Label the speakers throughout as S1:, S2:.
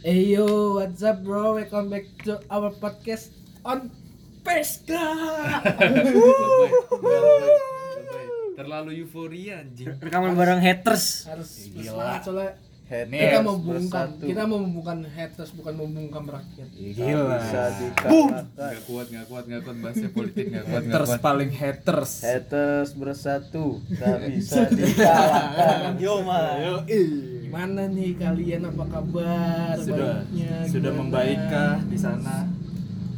S1: Hey yo, what's up bro? Welcome back to our podcast on Pesca.
S2: Lebay, lebay, lebay. Terlalu euforia anjing.
S3: rekaman bareng haters
S1: Harus
S2: Gila.
S1: semangat soalnya
S4: Haters
S1: kita membungkam,
S4: bersatu.
S1: kita membungkam haters bukan membungkam rakyat.
S4: Gila. Bisa dikatakan
S2: Gak kuat, gak kuat, gak kuat bahasnya politik gak kuat, gak
S5: haters
S2: kuat.
S5: paling haters
S4: haters bersatu, tak bisa
S5: Iya.
S4: dikalahkan. Yo malah.
S1: Gimana nih kalian? Apa kabar?
S5: sudah
S1: Baiknya
S5: sudah
S1: gimana?
S5: membaikkah di sana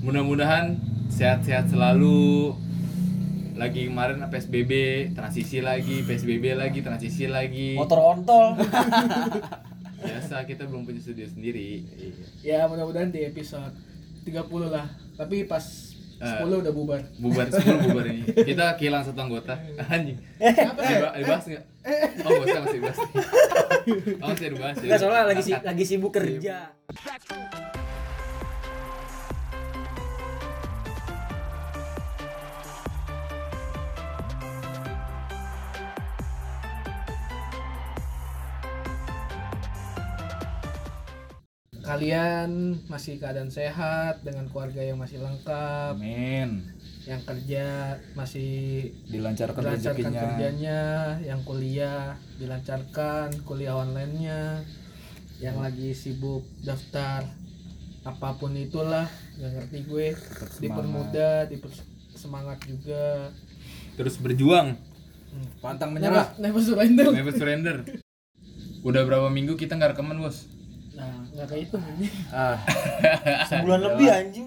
S2: Mudah-mudahan sehat-sehat selalu. Lagi kemarin PSBB, transisi lagi, PSBB lagi, transisi lagi.
S3: motor ontol
S2: Biasa kita belum punya studio sendiri.
S1: Ya mudah-mudahan di episode 30 lah. Tapi pas
S2: Eh.
S1: 10 udah bubar.
S2: Bubar sebelum bubar ini. Kita kehilangan satu anggota. Anjing. Diba- Dibahas enggak? Oh, enggak usah masih dibahas. Oh, masih dibahas.
S5: Iya.
S2: ya.
S3: nggak Kan soalnya lagi si-
S2: Angkat.
S3: lagi sibuk kerja
S1: Kalian masih keadaan sehat dengan keluarga yang masih lengkap,
S5: amin
S1: yang kerja masih
S5: dilancarkan
S1: dilancarkan
S5: rezekinya
S1: kerjanya, yang kuliah dilancarkan kuliah online-nya, yang lagi sibuk daftar apapun itulah, nggak ngerti gue, dipermudah, dipersemangat juga. Hmm.
S2: Terus berjuang.
S5: pantang menyerah
S1: Never, never surrender.
S2: Never surrender. Udah berapa minggu kita nggak rekaman, Bos?
S1: Nah, nggak kayak itu.
S5: ah
S4: Sebulan lebih
S5: Iya.
S4: anjing.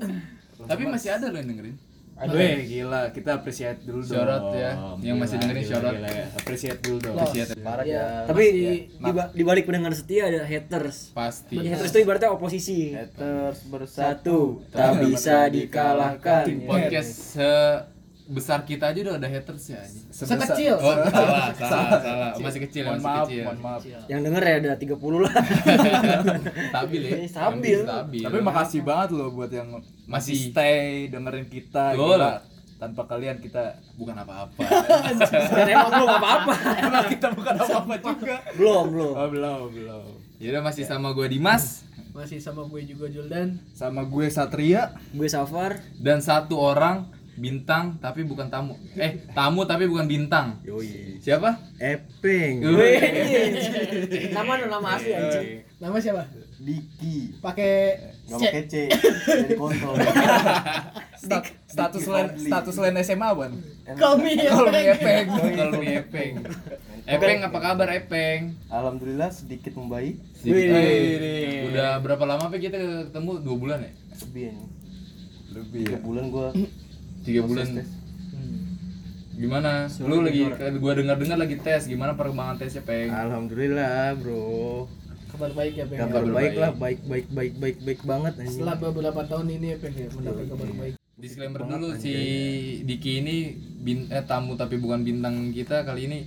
S2: Tapi masih ada loh yang dengerin.
S5: Weh, gila kita appreciate dulu dong
S2: Shout out ya, yang masih dengerin shout out.
S5: gila ya. appreciate dulu dong
S2: Appreciate.
S4: Parah ya.
S1: Ya,
S3: tapi
S5: Iya.
S1: masih-
S3: di, ba- di balik pendengar setia ada haters
S2: Pasti.
S5: Iya.
S3: Di haters itu ibaratnya oposisi
S4: Haters bersatu,
S3: satu
S5: Iya,
S3: tak bisa dikalahkan
S2: Podcast sebesar kita aja udah ada haters ya. anjing.
S5: Sebesar-
S1: Sekecil.
S2: Oh, salah, salah, salah. Ah, Masih kecil,
S5: mohon
S2: masih
S5: maaf
S2: kecil. Iya.
S5: mohon maaf
S3: yang denger ya ada 30 lah
S2: Stabil ya.
S3: Eh, stabil.
S2: Stabil.
S5: tapi makasih banget loh buat yang masih
S2: Masih-
S5: stay dengerin kita
S2: Betul.
S5: gila. tanpa kalian kita
S2: Bukan apa-apa.
S3: dan emang belum apa-apa
S5: Emang kita bukan apa-apa juga
S3: belum belum
S5: oh, belum belum
S2: Ya udah masih sama gua Dimas
S1: masih sama gue juga Juldan.
S5: sama gue Satria
S3: gue Safar
S2: dan satu orang bintang tapi bukan tamu. Eh, tamu tapi bukan bintang.
S3: yoi
S2: Siapa?
S3: Epeng
S5: Iya.
S3: nama nama asli anjing
S1: Nama siapa?
S4: Diki.
S1: Pakai
S4: Gak
S1: C.
S4: pakai C. Jadi kontol.
S5: Stat- status lain status lain SMA ban
S1: Call me ya,
S5: kalau
S1: Epeng.
S2: ya.
S5: ngepeng
S2: Kalau nih Epeng. Epeng apa kabar Epeng?
S4: Alhamdulillah sedikit membaik.
S2: Sedikit.
S5: Wih.
S2: Udah berapa lama Pe, kita ketemu? Dua bulan ya?
S4: Lebih anjing.
S5: lebih
S4: Tiga
S5: ya.
S4: bulan gua
S2: Tiga bulan.
S4: tes.
S2: Gimana? Lu lagi gua dengar-dengar lagi tes. Gimana perkembangan tesnya, Peng?
S6: Ah, Alhamdulillah bro
S1: Kabar baik ya Peng.
S2: Kabar
S6: Kabar baik
S2: baik.
S6: lah, baik baik baik baik baik banget anjing
S1: Setelah beberapa tahun ini ya Peng ya, mendapat kabar baik.
S2: Disclaimer dulu si Diki ini bin, eh, tamu tapi bukan bintang kita kali ini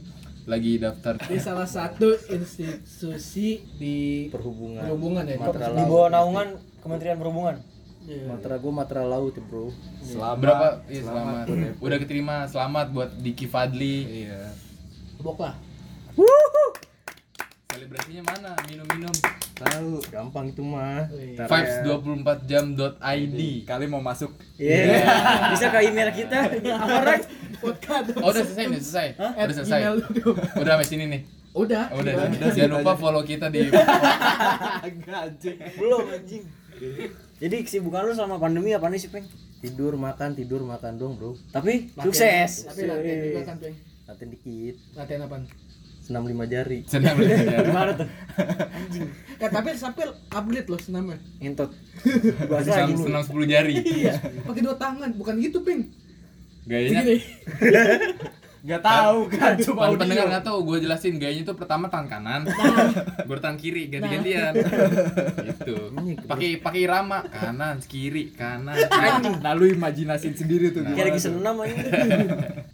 S2: lagi daftar
S1: Di salah satu institusi di
S4: Perhubungan.
S1: perhubungan ya.
S5: Iya.
S4: Matra
S3: di bawah naungan Kementerian Perhubungan
S1: Iya.
S4: Matra gua matra laut ya, Bro.
S5: selamat
S2: berapa Iya, selamat. Udah keterima selamat buat Diki Fadli.
S5: iya
S1: Bok lah.
S2: Selebrasinya mana? Minum-minum.
S6: tahu gampang itu mah
S5: Oh, iya.
S1: Wih.
S6: Ntar ya.
S2: vibes24jam.id.
S5: kali mau masuk
S3: Iya, bisa ke email kita Amarak
S1: Podcast.
S2: Oh, udah selesai, udah selesai. Udah selesai.
S1: Email lu dong.
S2: Udah sampai sini nih.
S1: Udah.
S2: Oh, udah. Jangan lupa follow kita di
S3: belum anjing jadi kesibukan lu selama pandemi apa nih sih peng
S6: tidur makan tidur makan dong bro
S3: tapi sukses
S1: Tapi latihan juga kan Peng.
S6: latihan dikit
S1: Latihan apaan?
S6: senam lima jari
S2: Senang belajar.
S3: gimana tuh
S1: Eh, tapi Sapil upgrade loh senamnya.
S3: entot bahas
S2: Senang,
S3: lagi lu
S2: senang 10 jari.
S1: Iya. Pakai dua tangan, bukan gitu Peng.
S2: Gayanya
S1: Begini.
S5: nggak tahu kan
S2: Pan
S5: cuma audio.
S2: pendengar nggak tahu, gue jelasin gayanya tuh pertama tangan kanan, baru tangan kiri ganti-gantian. Gitu. Pakai pakai irama kanan kiri kanan. kiri.
S5: Nah, lu imajinasin sendiri tuh
S3: kayak
S5: gimana
S3: lagi
S5: tuh.
S3: senam aja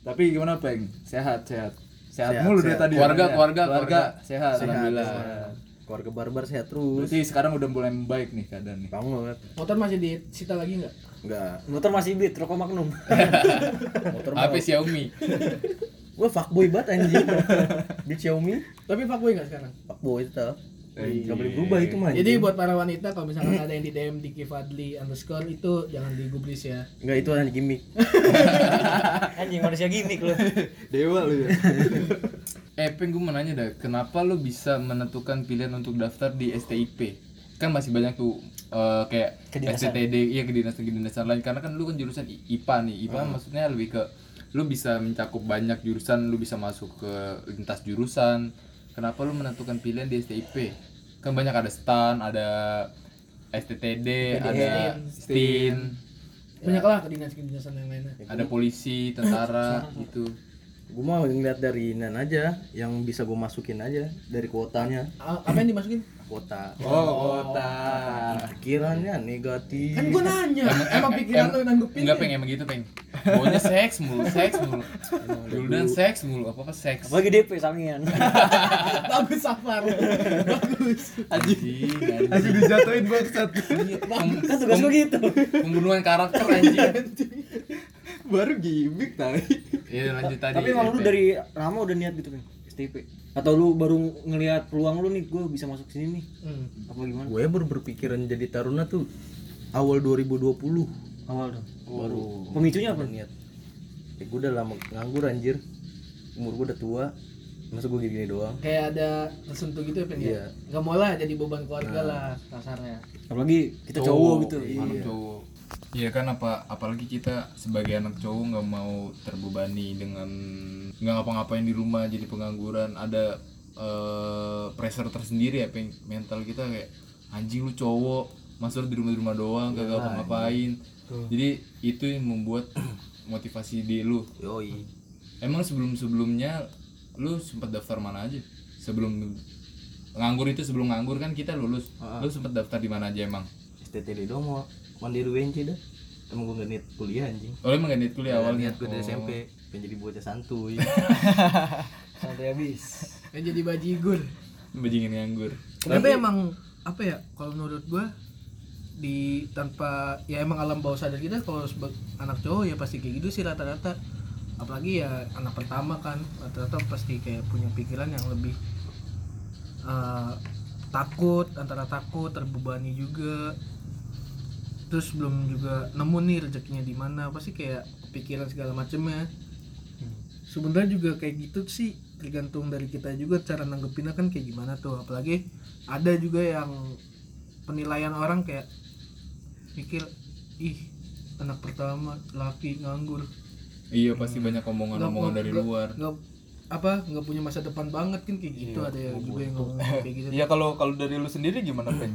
S5: tapi gimana peng sehat sehat sehat,
S6: Sehat,
S5: mulu dari
S6: sehat.
S5: tadi
S2: Keluarga,
S5: orangnya.
S2: keluarga,
S5: keluarga
S2: keluarga.
S5: sehat
S2: Alhamdulillah.
S5: Sehat.
S6: keluarga barbar sehat terus
S5: kan? berarti sekarang udah mulai membaik nih keadaan nih
S6: gampang banget
S1: Motor masih disita lagi nggak?
S6: enggak
S3: motor masih beat rokok magnum
S6: motor mah
S2: HP Xiaomi.
S6: gua fuckboy banget anjing di Xiaomi
S1: Tapi fuckboy nggak sekarang?
S6: fuckboy itu Gak boleh berubah itu mah.
S1: Jadi buat para wanita kalau misalkan ada yang di DM Diki Fadli underscore itu jangan digubris ya.
S6: Enggak itu hanya gimmick.
S3: Anjing manusia gimmick lu.
S4: Dewa lu ya.
S2: Eh, Peng, gue mau nanya dah, kenapa lu bisa menentukan pilihan untuk daftar di STIP? Kan masih banyak tuh eh, kayak
S3: Kedinasan.
S2: STTD, iya kedinasan-kedinasan lain Karena kan lu kan jurusan I- IPA nih, IPA maksudnya lebih ke Lu bisa mencakup banyak jurusan, lu bisa masuk ke lintas jurusan Kenapa lu menentukan pilihan di STIP? Kan banyak ada STAN, ada STTD, ada STIN,
S1: Banyaklah kedinasan-kedinasan yang lainnya.
S2: ada polisi, tentara, gitu
S6: Gue mau ngeliat dari nan aja yang bisa gue masukin aja dari kuotanya.
S1: A- Apa yang dimasukin?
S6: Kuota.
S4: Oh, kota.
S6: Pikirannya negatif.
S1: Kan gua nanya, emang pikiran lu yang nanggepin
S2: Enggak peng emang gitu peng Maunya seks mulu, seks mulu Duluan seks mulu, apa-apa seks
S3: Bagi DP sangian.
S1: Bagus Safar. Bagus.
S2: Anjing,
S4: Masih
S2: anjing
S4: dijatuhin bangsat.
S2: Pem-
S3: Kan tugas gua
S2: pem-
S3: gitu.
S2: Pembunuhan karakter anjing
S4: Baru gimmick tadi.
S2: Iya lanjut tadi
S3: Tapi emang
S2: Peng.
S3: lu dari Rama udah niat gitu, Bang. STP. Atau lu baru ngelihat peluang lu nih, gua bisa masuk sini nih.
S1: Hmm.
S3: Apa gimana?
S6: Gue baru berpikiran jadi taruna tuh awal 2020
S3: Awal dong.
S6: baru
S3: Pemicunya apa?
S6: niat. Ya gue udah lama nganggur anjir. Umur gue udah tua. Masa gue gini-gini doang.
S1: Kayak ada tersentuh gitu ya pengen.
S6: Iya.
S1: Gak mau lah jadi beban keluarga lah kasarnya.
S3: Apalagi kita cowok gitu.
S2: anak cowok Iya kan apa apalagi kita sebagai anak cowok nggak mau terbebani dengan nggak ngapa-ngapain di rumah jadi pengangguran ada eh, pressure tersendiri ya peng mental kita kayak anjing lu cowok masa lu di rumah di rumah doang gak
S3: Iya,
S2: ngapa-ngapain jadi itu yang membuat motivasi di lu
S6: Yoi.
S2: emang sebelum sebelumnya lu sempat daftar mana aja sebelum nganggur itu sebelum nganggur kan kita lulus
S1: Ah.
S2: lu sempat daftar di mana aja emang
S6: STTD doang mau mandiri UNC dah. Emang gue gak niat kuliah anjing.
S2: Oh, lu emang gak niat
S1: Iya,
S2: kuliah awalnya?
S6: Niat gue dari SMP pengen jadi bocah santuy.
S3: Santai habis.
S1: Kan jadi bajigur. iya.
S2: Oh, Bajingan nganggur.
S1: Tapi emang apa ya kalau menurut gua di tanpa ya emang alam bawah sadar kita kalau sebagai anak cowok ya pasti kayak gitu sih rata-rata apalagi ya anak pertama kan rata-rata pasti kayak punya pikiran yang lebih eh, takut antara takut terbebani juga terus belum juga nemu nih rezekinya di mana pasti kayak pikiran segala macemnya sebenarnya juga kayak gitu sih tergantung dari kita juga cara nanggepinnya kan kayak gimana tuh apalagi ada juga yang penilaian orang kayak mikir ih anak pertama laki nganggur
S2: Iya, pasti banyak omongan-omongan
S1: Nggak-
S2: dari
S1: nggak-
S2: luar.
S1: nggak apa nggak punya masa depan banget kan kayak gitu ada yang juga yang ngomong kayak gitu
S5: Iya kalau kalau dari lu sendiri gimana Peng?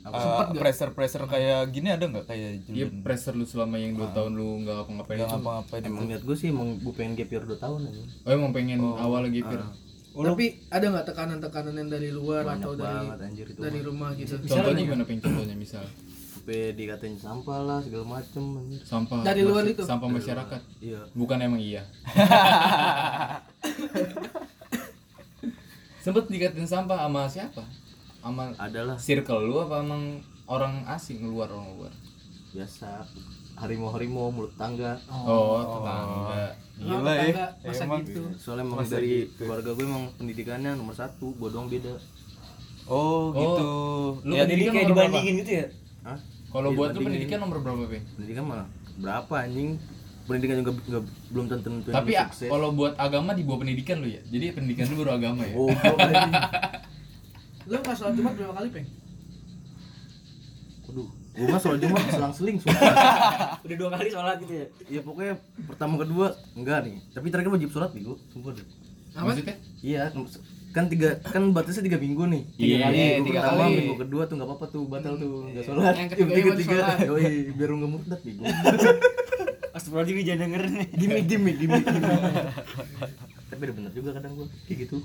S5: Uh, pressure pressure kayak gini ada nggak
S1: Hmm.
S2: Iya,
S5: kayak Julian
S2: pressure lu selama yang
S1: Ah.
S2: 2 tahun lu gak ngapa-ngapain
S5: nggak
S2: itu.
S5: ngapa-ngapain
S6: Emang niat gue sih emang gue pengen gap year 2 tahun anjing.
S2: Oh, emang pengen awal lagi, Fir.
S1: ah. tapi ada nggak tekanan-tekanan yang dari luar atau dari
S6: banget, anjir, itu
S1: dari rumah gitu
S2: Contohnya gimana, Peng? Contohnya misal
S6: Sampai dikatain sampah lah segala macem anjir.
S2: sampah
S1: Dari luar itu?
S2: sampah masyarakat.
S6: Iya.
S2: Bukan emang iya. Sempet dikatain sampah sama siapa? Sama
S6: Adalah
S2: circle lu apa emang orang asing luar orang luar?
S6: biasa harimau-harimau mulut tangga.
S2: Oh, tetangga.
S1: Gila ya, masa gitu
S6: Soalnya emang dari keluarga gue emang pendidikannya nomor satu, gue doang beda.
S5: Oh, gitu.
S2: Lu
S5: Ya,
S2: pendidikan
S3: Jadi
S2: kan
S3: kan kayak
S2: nomor berapa?
S3: dibandingin gitu ya.
S6: Hah?
S2: Kalau buat lu
S6: Dibandingin-
S2: pendidikan nomor berapa, Peng?
S6: pendidikan malah kan berapa anjing? Pendidikan juga nggak- belum tentu tentu
S2: Tapi
S3: ya,
S6: yang
S2: ah, kalau buat agama di bawah pendidikan lu ya. Jadi pendidikan lu baru agama ya.
S6: Oh, gua anjing.
S1: lo nggak sholat jumat berapa kali peng
S6: Waduh, gue mah soal cuma selang-seling sumpah.
S3: Udah dua kali sholat gitu ya.
S6: ya pokoknya pertama kedua enggak nih. Tapi terakhir wajib sholat nih gue, sumpah deh.
S2: Maksudnya?
S6: Iya, kan tiga kan batasnya tiga minggu nih.
S2: Tiga kali,
S6: minggu
S2: tiga
S6: pertama,
S2: kali.
S6: minggu kedua tuh nggak apa-apa tuh batal tuh
S3: Iya.
S6: nggak sholat.
S1: Yang ketiga wajib sholat.
S6: Yoi, biar lu nggak murtad nih.
S3: Astagfirullahaladzim jangan dengerin nih.
S6: Gimik gimik gimik. Tapi udah bener juga kadang gua kayak gitu.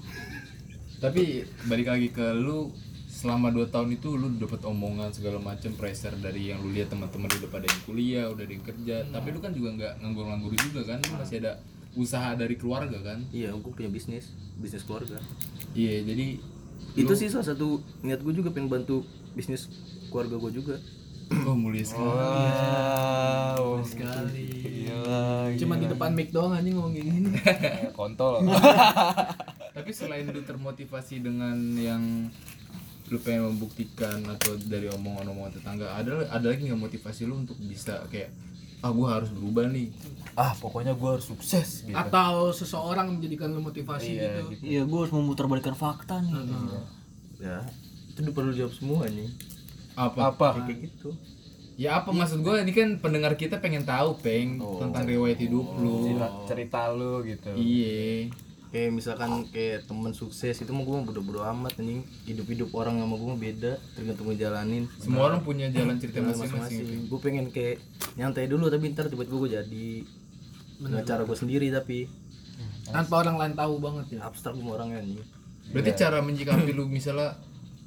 S2: Tapi balik lagi ke lu selama 2 tahun itu lu dapat omongan segala macam pressure dari yang lu lihat teman-teman lu udah pada yang kuliah, udah ada yang kerja, tapi lu kan juga nggak nganggur-nganggur juga kan, lu masih ada usaha dari keluarga kan.
S6: Iya, gua punya bisnis, bisnis keluarga.
S2: Iya, jadi
S6: Itu sih salah satu niat gua juga pengen bantu bisnis keluarga gua juga.
S2: oh mulia sekali.
S5: Wow.
S1: sekali
S5: Gila.
S1: cuma di depan mic doang anjing ngomong kayak gini
S5: Eh, kontol.
S2: Tapi selain lu termotivasi dengan yang lu pengen membuktikan atau dari omongan-omongan tetangga ada ada lagi nggak motivasi lu untuk bisa kayak ah gue harus berubah nih
S5: ah pokoknya gue harus sukses gitu
S1: atau seseorang menjadikan lu motivasi
S5: iya
S1: gitu.
S5: gitu.
S3: Iya, gue harus memutarbalikkan fakta nih.
S6: ya itu udah perlu jawab semua nih
S2: apa
S5: apa
S6: kayak gitu
S2: ya apa maksud gue ini kan pendengar kita pengen tahu peng
S1: Oh.
S2: tentang riwayat hidup lu
S5: Cerita- cerita lu gitu
S2: iya
S6: kayak misalkan kayak temen sukses itu mah gue bodo bodo amat anjing hidup hidup orang sama gue mah beda tergantung ngejalanin
S2: semua orang punya jalan cerita masing-masing
S6: masing-masing gue pengen kayak nyantai dulu tapi ntar tiba-tiba gue jadi dengan cara gue sendiri tapi
S1: Tanpa orang lain tahu banget ya. Iya.
S6: abstrak gue orangnya nih
S2: berarti cara menyikapi lu misalnya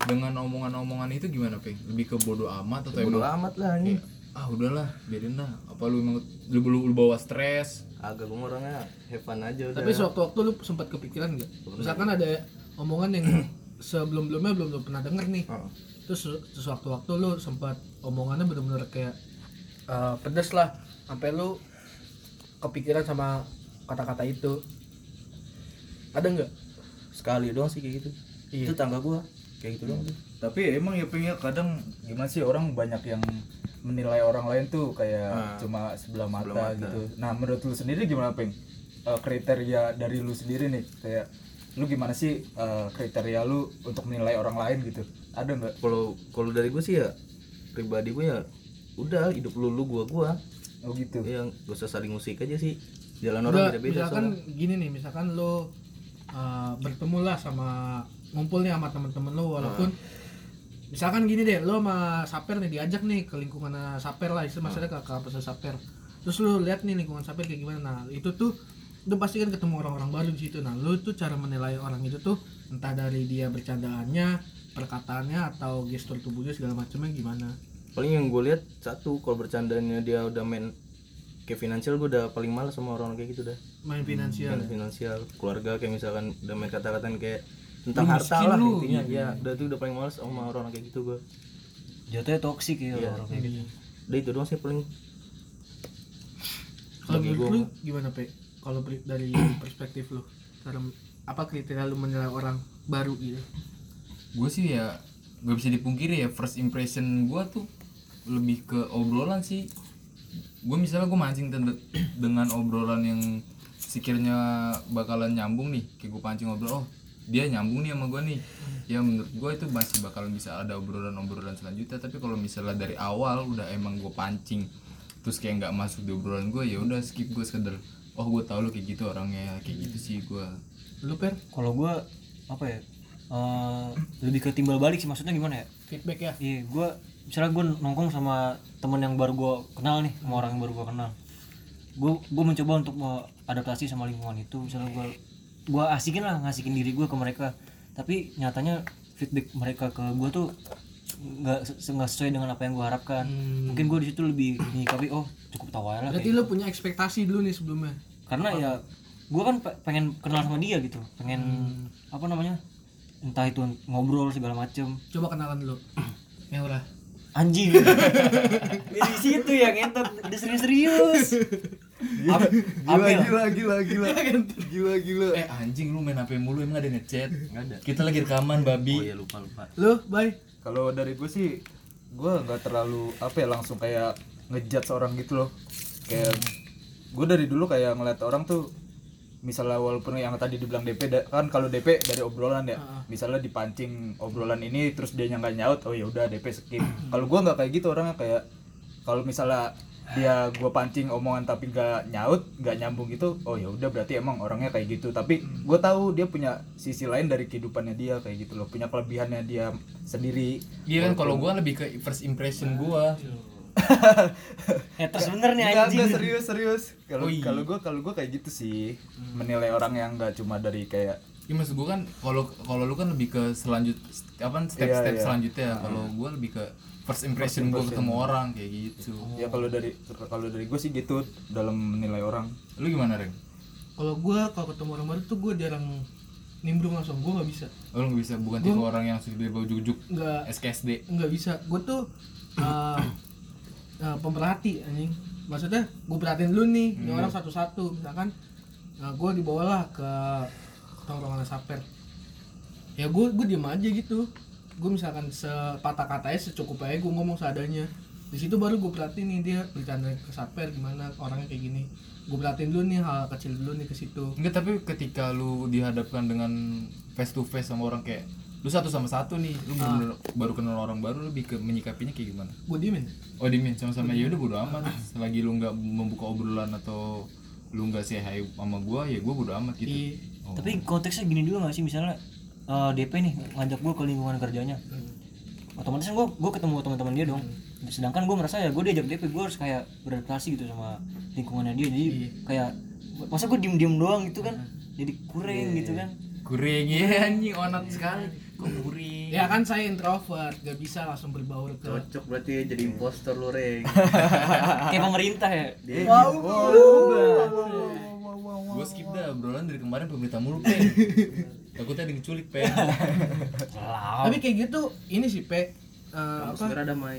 S2: dengan omongan-omongan itu gimana peng lebih ke bodoh amat atau
S6: bodo
S2: emang
S6: amat lah anjing
S2: kayak, ah udahlah biarin lah apa lu emang lu, lu, lu bawa stres
S6: agak gue orangnya have fun aja udah
S1: Tapi sewaktu-waktu lu sempat kepikiran nggak? Misalkan ada omongan yang sebelum-belumnya belum lu pernah denger nih. Terus se- sewaktu-waktu lu sempat omongannya bener-bener kayak eh, pedes lah, sampai lu kepikiran sama kata-kata itu. Ada nggak?
S6: sekali doang sih kayak gitu itu tangga gue kayak gitu doang tuh
S5: tapi emang ya pengen kadang gimana sih orang banyak yang menilai orang lain tuh kayak cuma Ah, sebelah mata, gitu nah menurut lu sendiri gimana peng Eh, kriteria dari lu sendiri nih kayak lu gimana sih eh, kriteria lu untuk menilai orang lain gitu ada
S6: eh,
S5: nggak
S6: kalau kalau dari gue sih ya pribadi gue ya udah hidup lu lu gue gue
S5: oh gitu
S6: yang gak usah saling musik aja sih jalan
S1: Udah,
S6: orang beda beda
S1: misalkan gini nih, misalkan lu eh, bertemu lah sama ngumpul nih sama temen-temen lu walaupun misalkan gini deh, lu sama Saper nih diajak nih ke lingkungan eh, Saper lah, istilah maksudnya ke kampus Saper. Terus lu lihat nih lingkungan Saper kayak gimana. Nah, itu tuh lu pasti kan ketemu orang-orang baru di situ. Nah, lu tuh cara menilai orang itu tuh entah dari dia bercandaannya, perkataannya atau gestur tubuhnya segala macamnya gimana.
S6: paling yang gue lihat satu kalau bercandanya dia udah main kayak finansial gue udah paling malas sama orang kayak gitu dah
S1: Main finansial.
S6: Main finansial keluarga kayak misalkan udah main kata-kataan kayak tentang harta lah intinya ya udah tuh udah paling malas sama orang kayak gitu gue
S3: Jatuhnya toksik ya orang kayak gitu.
S6: udah itu doang sih paling
S1: Kalau menurut lu gimana, Pe? Kalau pri- dari perspektif lu, cara apa kriteria lu menilai orang baru gitu?
S2: gue sih ya gak bisa dipungkiri ya first impression gue tuh lebih ke obrolan sih gue misalnya gue mancing tende- dengan obrolan yang sekiranya bakalan nyambung nih kayak gue pancing obrol oh dia nyambung nih sama gue nih ya menurut gue itu masih bakalan bisa ada obrolan-obrolan selanjutnya tapi kalau misalnya dari awal udah emang gue pancing terus kayak nggak masuk di obrolan gue ya udah skip gue sekedar oh gue tau lu kayak gitu orangnya kayak gitu sih gue
S1: Lu per
S3: Kalau gue apa ya? eh, lebih ke timbal balik sih maksudnya gimana ya?
S1: feedback ya?
S3: Iya, gue misalnya gue nongkrong sama temen yang baru gue kenal nih, sama orang yang baru gue kenal. Gue gue mencoba untuk adaptasi sama lingkungan itu. Misalnya gue gue asikin lah, ngasihin diri gue ke mereka. Tapi nyatanya feedback mereka ke gue tuh nggak se- nggak sesuai dengan apa yang gue harapkan. Mungkin gue di situ lebih menyikapi oh cukup tawa aja lah.
S1: Hmm. Berarti
S3: kayak-
S1: lu punya ekspektasi dulu nih sebelumnya.
S3: Karena ya gue kan pe- pengen kenal sama dia gitu, pengen
S1: Hmm.
S3: apa namanya entah itu ngobrol segala macem
S1: Coba kenalan dulu. Ya udah.
S3: anjing di situ ya ngentot udah serius-serius Ap- Apel
S4: gila gila gila gila
S2: Eh anjing lu main HP mulu emang ada Oh, iya, ngechat? Kita lagi rekaman babi.
S6: ya lupa lupa
S1: Lu, bye.
S5: kalau dari gue sih gue nggak terlalu apa ya langsung kayak ngejat seorang gitu loh kayak gue dari dulu kayak ngeliat orang tuh misalnya walaupun yang tadi dibilang DP da- kan kalau DP dari obrolan ya misalnya dipancing obrolan ini terus dia nggak nyaut oh ya udah DP skip kalau gue nggak kayak gitu orangnya kayak kalau misalnya dia gue pancing omongan tapi nggak nyaut nggak nyambung gitu oh ya udah berarti emang orangnya kayak gitu tapi gue tahu dia punya sisi lain dari kehidupannya dia kayak gitu loh punya kelebihannya dia sendiri
S2: Iya kan kalau gua lebih ke first impression gua.
S3: haters Eh, bener nih
S5: Enggak,
S3: anjing
S5: enggak serius serius. Kalau kalau gua kalau gua kayak gitu sih menilai orang yang enggak cuma dari kayak
S2: Iya maksud gua kan kalau kalau lu kan lebih ke selanjut apa step-step selanjutnya. Kalau gua lebih ke Iya, first impression, gua ketemu orang kayak gitu.
S5: ya kalau dari kalau dari gua sih gitu dalam menilai orang.
S2: Lu gimana, Reng?
S1: Kalau gua kalau ketemu orang baru tuh gua jarang nimbrung langsung, gua nggak bisa.
S2: Oh, Lu nggak bisa bukan tipe orang yang sudah bau jujuk
S1: Nggak
S2: SKSD.
S1: nggak bisa. Gua tuh eh, eh, pemerhati anjing. Maksudnya gua perhatiin dulu nih, ini orang satu-satu. Misalkan nah, gua dibawalah ke tongkrongan saper. ya gue gue diem aja gitu gue misalkan sepatah katanya secukup aja gue ngomong seadanya di situ baru gue perhatiin nih dia bercanda ke satper gimana orangnya kayak gini gue perhatiin dulu nih hal kecil dulu nih ke situ
S2: Enggak, tapi ketika lu dihadapkan dengan face to face sama orang kayak lu satu sama satu nih, lu bener-bener baru kenal orang baru lebih ke menyikapinya kayak gimana?
S1: gue diemin
S2: Oh, dimin sama-sama ya udah bodo amat. Selagi lu nggak membuka obrolan atau lu nggak say hi sama gua, ya gua bodo amat gitu.
S1: Di-
S3: Tapi konteksnya gini juga gak sih misalnya eh, DP nih ngajak gue ke lingkungan kerjanya. Otomatis gue gue ketemu teman-teman dia dong. Sedangkan gue merasa ya gue diajak DP gue harus kayak beradaptasi gitu sama lingkungannya dia. Jadi kayak masa gue diem-diem doang gitu kan. Jadi kurang gitu kan.
S2: Kuring ya anjing onat sekali. Kok kuring?
S1: ya kan saya introvert gak bisa langsung berbaur ke
S6: Cocok berarti jadi impostor lu, Reng.
S3: kayak pemerintah ya.
S2: Gua skip dah obrolan dari kemarin pemerintah mulu, Pen. Takutnya ada yang diculik, Pen.
S3: Lah.
S1: tapi kayak gitu ini sih pe eh,
S6: Kampus
S1: apa
S6: merah damai,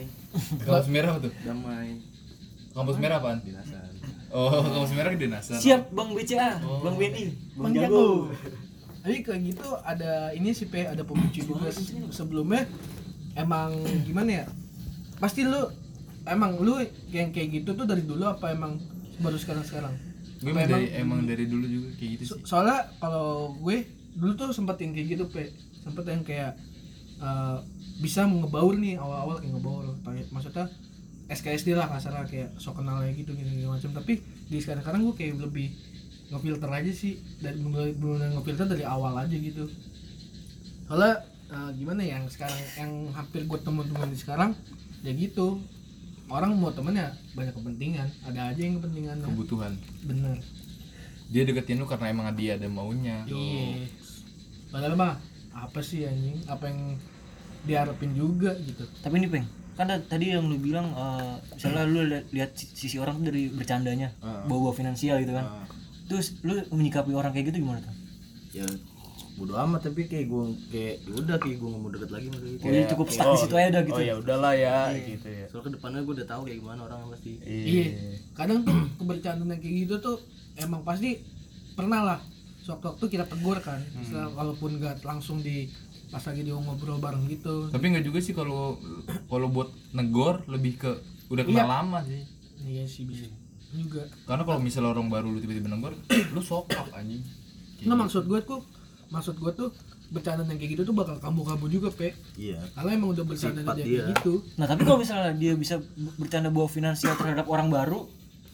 S2: Kampus merah apa tuh?
S6: damai.
S2: Kampus merah apaan?
S6: Dinasan.
S2: Oh, kampus merah kedinasan.
S3: Siap Bang BCA, Bang Benny, Bang
S1: Bang
S3: Jago.
S1: Jago. Tapi kayak gitu ada ini sih Pe, ada pemicu juga sebelumnya emang gimana ya? Pasti lu emang lu yang kayak gitu tuh dari dulu apa emang baru sekarang-sekarang?
S2: Gue emang dari, emang dari dulu juga kayak gitu
S1: So-
S2: sih.
S1: soalnya kalau gue dulu tuh sempet yang kayak gitu Pe, sempet yang kayak eh, bisa ngebaur nih awal-awal kayak ngebaur Kayak- maksudnya SKSD lah nggak salah kayak sok kenalnya gitu gitu, gitu macam tapi di sekarang-sekarang gue kayak lebih ngefilter aja sih dari mulai mulai ngefilter dari awal aja gitu soalnya eh, gimana ya, yang sekarang yang hampir gue temuin-temuin di sekarang ya gitu orang mau temennya banyak kepentingan ada aja yang kepentingan
S2: Kebutuhan.
S1: bener
S2: dia deketin lu karena emang dia ada maunya
S1: Iya. Padahal mah apa sih anjing? Apa yang diharapin juga gitu.
S3: Tapi ini Peng, kan da- tadi yang lu bilang eh, misalnya lu li- lihat si- sisi orang tuh dari bercandanya, bawa-bawa finansial gitu kan. Terus lu menyikapi orang kayak gitu gimana tuh?
S6: Ya bodo amat tapi kayak gue kayak ya udah kayak gue mau deket lagi sama gitu.
S3: Oh, jadi cukup stuck di situ aja udah gitu.
S5: oh ya udahlah ya gitu ya
S6: Soalnya ke depannya gue udah tahu kayak gimana orangnya pasti.
S1: Iya. Kadang tuh kebercandaan yang kayak gitu tuh emang pasti pernah lah sewaktu-waktu kita tegur kan. Misal walaupun gak langsung di pas lagi dia ngobrol bareng gitu.
S2: tapi nggak juga sih kalau kalau buat negor lebih ke udah kenal lama sih
S1: Iya sih bisa juga.
S2: karena kalau misalnya orang baru lu tiba-tiba negor lu sokap anjing
S1: Nah maksud gue tuh maksud gue tuh bercandaan yang kayak gitu tuh bakal kamu-kamu juga, Pe.
S6: Iya.
S1: Kalau emang udah bercanda
S6: Sifat
S1: kayak
S6: dia.
S1: gitu.
S3: Nah, tapi kalau misalnya dia bisa b- bercanda bawa finansial terhadap orang baru,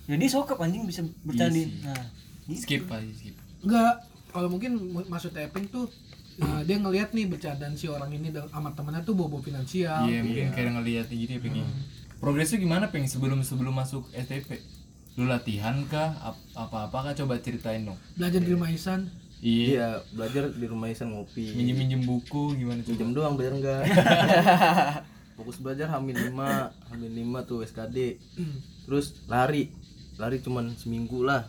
S3: ya dia sokap anjing bisa bercanda. Nah, gitu.
S2: skip aja skip
S1: Enggak, kalau mungkin mu- maksud tapping tuh eh, dia ngelihat nih bercandaan si orang ini dan sama temennya tuh bobo finansial.
S2: iya mungkin kayak ngeliat gitu ya pengen progresnya gimana peng sebelum sebelum masuk STP lu latihan kah Ap- apa-apa kah coba ceritain dong
S1: Belajar di rumah Ihsan.
S2: iya
S6: Iya, belajar di rumah Isan ngopi.
S2: minjem minjem buku gimana coba
S6: Minjem doang belajar enggak. Fokus belajar hamin 5, hamin 5 tuh SKD. Terus lari. Lari cuman seminggu lah.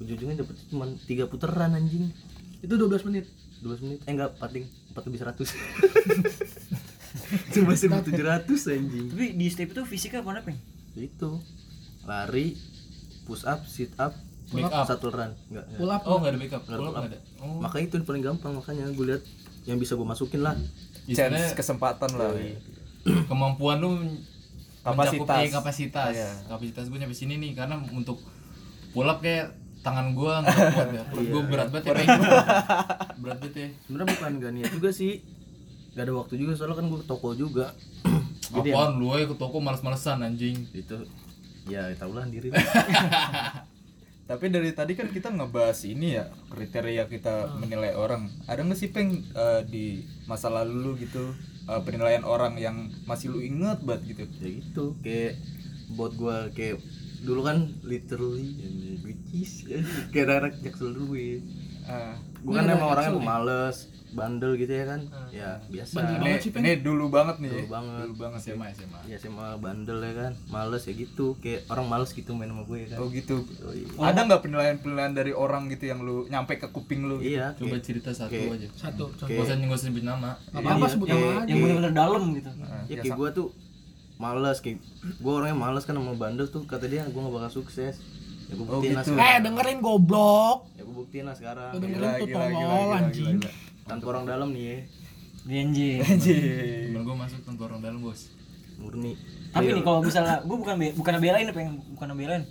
S6: Ujung-ujungnya dapet cuman 3 puteran anjing.
S1: Itu 12 menit.
S6: 12 menit. Eh enggak, paling 4 lebih 100. Cuma 1700 anjing.
S3: Tapi di step itu fisika apa apa?
S6: Itu. Lari, push up, sit up,
S2: Make up.
S6: satu run. Enggak. enggak.
S1: Pull up.
S2: oh nggak ada backup
S6: Nggak
S2: pull
S6: ada
S2: up
S6: pull
S2: nggak ada oh
S6: Makanya itu paling gampang makanya gue lihat yang bisa gue masukin lah.
S5: chance
S2: istilahnya
S5: kesempatan lah
S2: kemampuan lu men-
S5: Kapasitas.
S2: mencakup- iya, kapasitas
S5: Iya.
S2: kapasitas gue nyampe sini nih karena untuk pull up kayak tangan gue nggak kuat ya perut gue berat banget ya kayaknya. berat banget ya
S6: Sebenarnya bukan gak niat juga sih. Gak ada waktu juga soalnya kan gue ke toko juga. Jadi ya,
S2: apaan lu aja ke toko males-malesan anjing
S6: itu ya tau lah diri.
S5: tapi dari tadi kan kita ngebahas ini ya kriteria
S3: Hmm.
S5: kita menilai orang ada nggak sih peng eh, di masa lalu lu gitu eh, penilaian orang yang masih lu inget banget gitu
S6: ya gitu kayak buat gue kayak dulu kan literally ini, which is ya, kayak anak jaksel dulu ya.
S5: Ah,
S6: Gue kan emang orangnya males, bandel gitu ya kan. Ya biasa.
S5: ini, ini dulu banget nih
S6: Dulu banget.
S5: dulu banget ya
S2: SMA SMA
S6: Ya sama bandel ya kan, males ya gitu, kayak orang males gitu main sama gue ya kan.
S5: oh gitu
S6: Oh, iya.
S5: ada nggak penilaian penilaian dari orang gitu yang lu nyampe ke kuping lu gitu?
S6: Iya,
S2: coba
S6: kayak-
S2: cerita satu
S6: Oke.
S2: aja
S1: Satu. contoh.
S2: gak usah gak usah sebut nama
S1: Gak apa-apa sebut nama aja.
S3: Yang benar-benar dalam gitu.
S6: ya kayak gue tuh males kayak gue orangnya males kan sama bandel tuh kata dia gue gak bakal sukses ya gue buktiin lah
S1: Eh
S6: sekarang
S1: dengerin goblok.
S6: ya gue buktiin lah sekarang
S1: Dengerin tuh tolol anjing.
S6: tanpa orang dalam nih ya
S3: Genji.
S5: Anjir.
S2: Temen gue masuk tenggorong dalam bos
S6: murni
S3: Tapi nih kalau misalnya gue bukan be- bukan belain pengen bukan belain.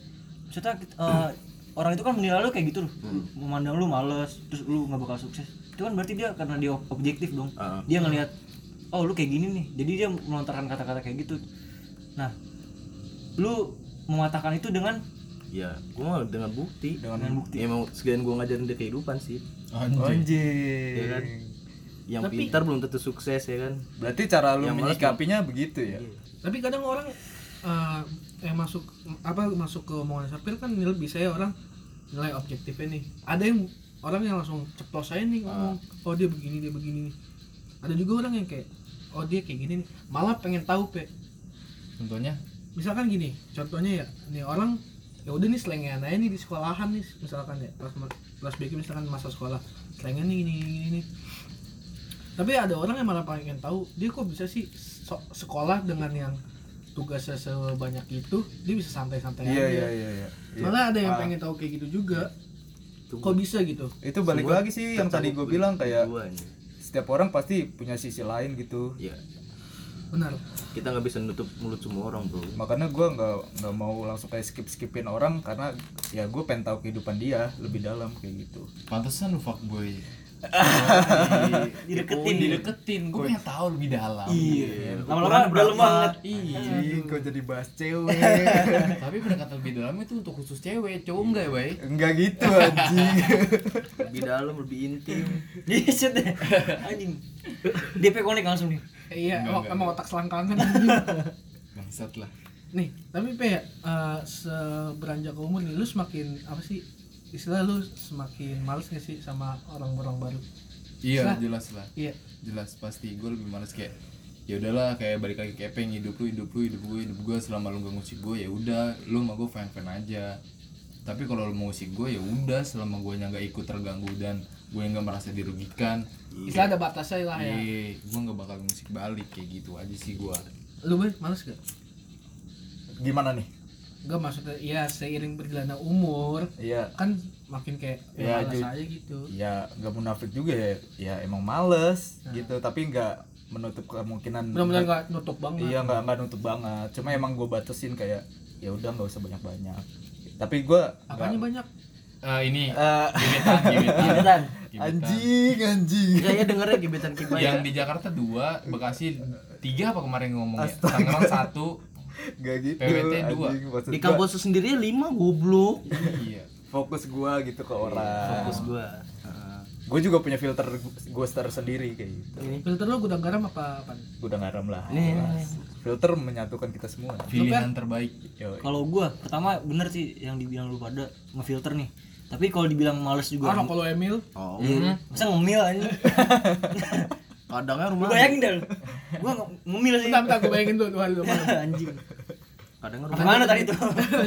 S3: Maksudnya eh, orang itu kan menilai lu kayak gitu loh. Memandang lu males, terus lu nggak bakal sukses. Itu kan berarti dia karena dia ob- objektif dong.
S6: Ah.
S3: Dia ngelihat oh lu kayak gini nih. Jadi dia melontarkan kata-kata kayak gitu. Nah, lu mematahkan itu dengan
S6: ya gua mah dengan bukti Ya,
S3: dengan bukti.
S6: emang sekalian gua ngajarin dia kehidupan sih
S2: Anjir
S6: ya kan
S5: Anjir.
S6: yang pintar belum tentu sukses ya kan
S5: Berarti cara lu
S6: Yang malas
S5: menyikapinya begitu ya?
S1: tapi kadang orang eh, yang masuk apa masuk ke omongan sopir kan nilai bisa ya orang nilai objektifnya nih ada yang orang yang langsung ceplos aja nih ngomong oh dia begini dia begini nih ada juga orang yang kayak oh dia kayak gini nih malah pengen tahu pe
S2: Contohnya
S1: misalkan gini contohnya ya nih orang ya udah nih selengean aja nih di sekolahan nih misalkan ya kelas kelas BK misalkan masa sekolah selengean nih gini gini, gini. tapi ada orang yang malah pengen tahu dia kok bisa sih so- sekolah dengan yang tugasnya sebanyak itu dia bisa santai-santai
S5: Iya
S1: aja
S5: iya iya. iya. Iya.
S1: malah ada yang
S5: Ah.
S1: pengen tahu kayak gitu juga
S5: Iya.
S1: kok bisa gitu
S5: Itu balik
S6: Semua
S5: lagi sih yang tadi gue
S6: tercakup
S5: bilang kayak
S6: dua ini.
S5: setiap orang pasti punya sisi lain gitu.
S6: ya
S1: benar
S6: kita nggak bisa nutup mulut semua orang bro
S5: Makanya gue nggak nggak mau langsung kayak skip skipin orang karena ya gue pengen tahu kehidupan dia lebih dalam kayak gitu.
S2: Pantesan lu fuckboy
S3: Dideketin,
S2: Dideketin Gue pengen tahu lebih dalam
S3: Iya. Lama-lama dalam banget.
S6: Iya.
S5: Ih, kok jadi bahas cewek?
S2: Tapi pendekatan lebih dalam itu untuk khusus cewek Cowok enggak ya bay?
S5: Enggak gitu anjing.
S6: lebih dalam lebih intim
S3: Iya, shit deh. Anjing. DP connect langsung nih.
S1: Eh, iya emang, emang otak selangkangan
S2: Bangsat lah
S1: nih tapi pe eh, seberanjak ke umur nih lu semakin apa sih istilah lu semakin males gak sih sama orang-orang baru
S2: Iya
S1: Lah.
S2: jelas lah
S1: iya
S2: jelas pasti gue lebih males kayak ya udahlah kayak balik lagi ke Epeng hidup lu hidup lu hidup gue hidup gue selama lu gak ngusik gue ya udah lu sama gue fan fan aja tapi kalau lu mau ngusik gue ya udah selama gue nggak ikut terganggu dan gue nggak merasa dirugikan
S1: istilah ada batasnya
S5: Iya.
S1: lah ya
S2: eh gue nggak bakal ngusik balik kayak gitu aja sih gue
S1: lu Ben, males gak?
S5: Gimana nih?
S1: Gak maksudnya ya seiring berjalannya umur
S5: Iya.
S1: kan makin kayak
S5: Ya,
S1: ya, malas
S5: ju-
S1: aja gitu
S5: Ya nggak munafik juga ya. Ya emang males
S6: Ya.
S5: gitu tapi nggak menutup kemungkinan
S1: benar-benar gak nutup banget
S5: Iya nggak nggak nutup banget. Cuma emang gue batasin kayak ya udah nggak usah banyak banyak. Tapi gue
S1: apanya banyak
S2: ini
S5: Eh,
S2: gebetan gebetan
S3: Gebetan.
S2: gebetan
S5: anjing anjing.
S6: ya ya dengernya gebetan kita ya
S2: yang di Jakarta dua Bekasi tiga apa kemarin ngomongnya Tangerang satu
S5: Gak gitu.
S2: PWT dua.
S5: anjing. Maksud
S6: di
S5: gua,
S6: kampus sendiri lima goblok
S2: iya
S5: fokus gue gitu ke orang.
S6: Iya, fokus gua Heeh.
S5: Gue juga punya filter gue sendiri kayak gitu.
S6: ini
S1: filter lu gudang garam apa apa
S5: Gue udah ngaram lah.
S6: Nih, nih,
S5: jelas. Filter menyatukan kita semua.
S2: pilihan terbaik
S5: Yo,
S3: Kalau gua pertama bener sih yang dibilang lu pada ngefilter nih. Tapi kalau dibilang males juga
S1: orang Ah, kalau Emil
S6: oh
S3: Iya. Masa ngemil aja.
S6: kadangnya
S3: Lu
S6: rumah
S3: bayangin dah lu. Gua nge- ngemil sih.
S1: bentar bentar gue bayangin tuh dua hari dua malam
S3: anjing.
S6: kadangnya rumah
S3: Gimana tadi tuh?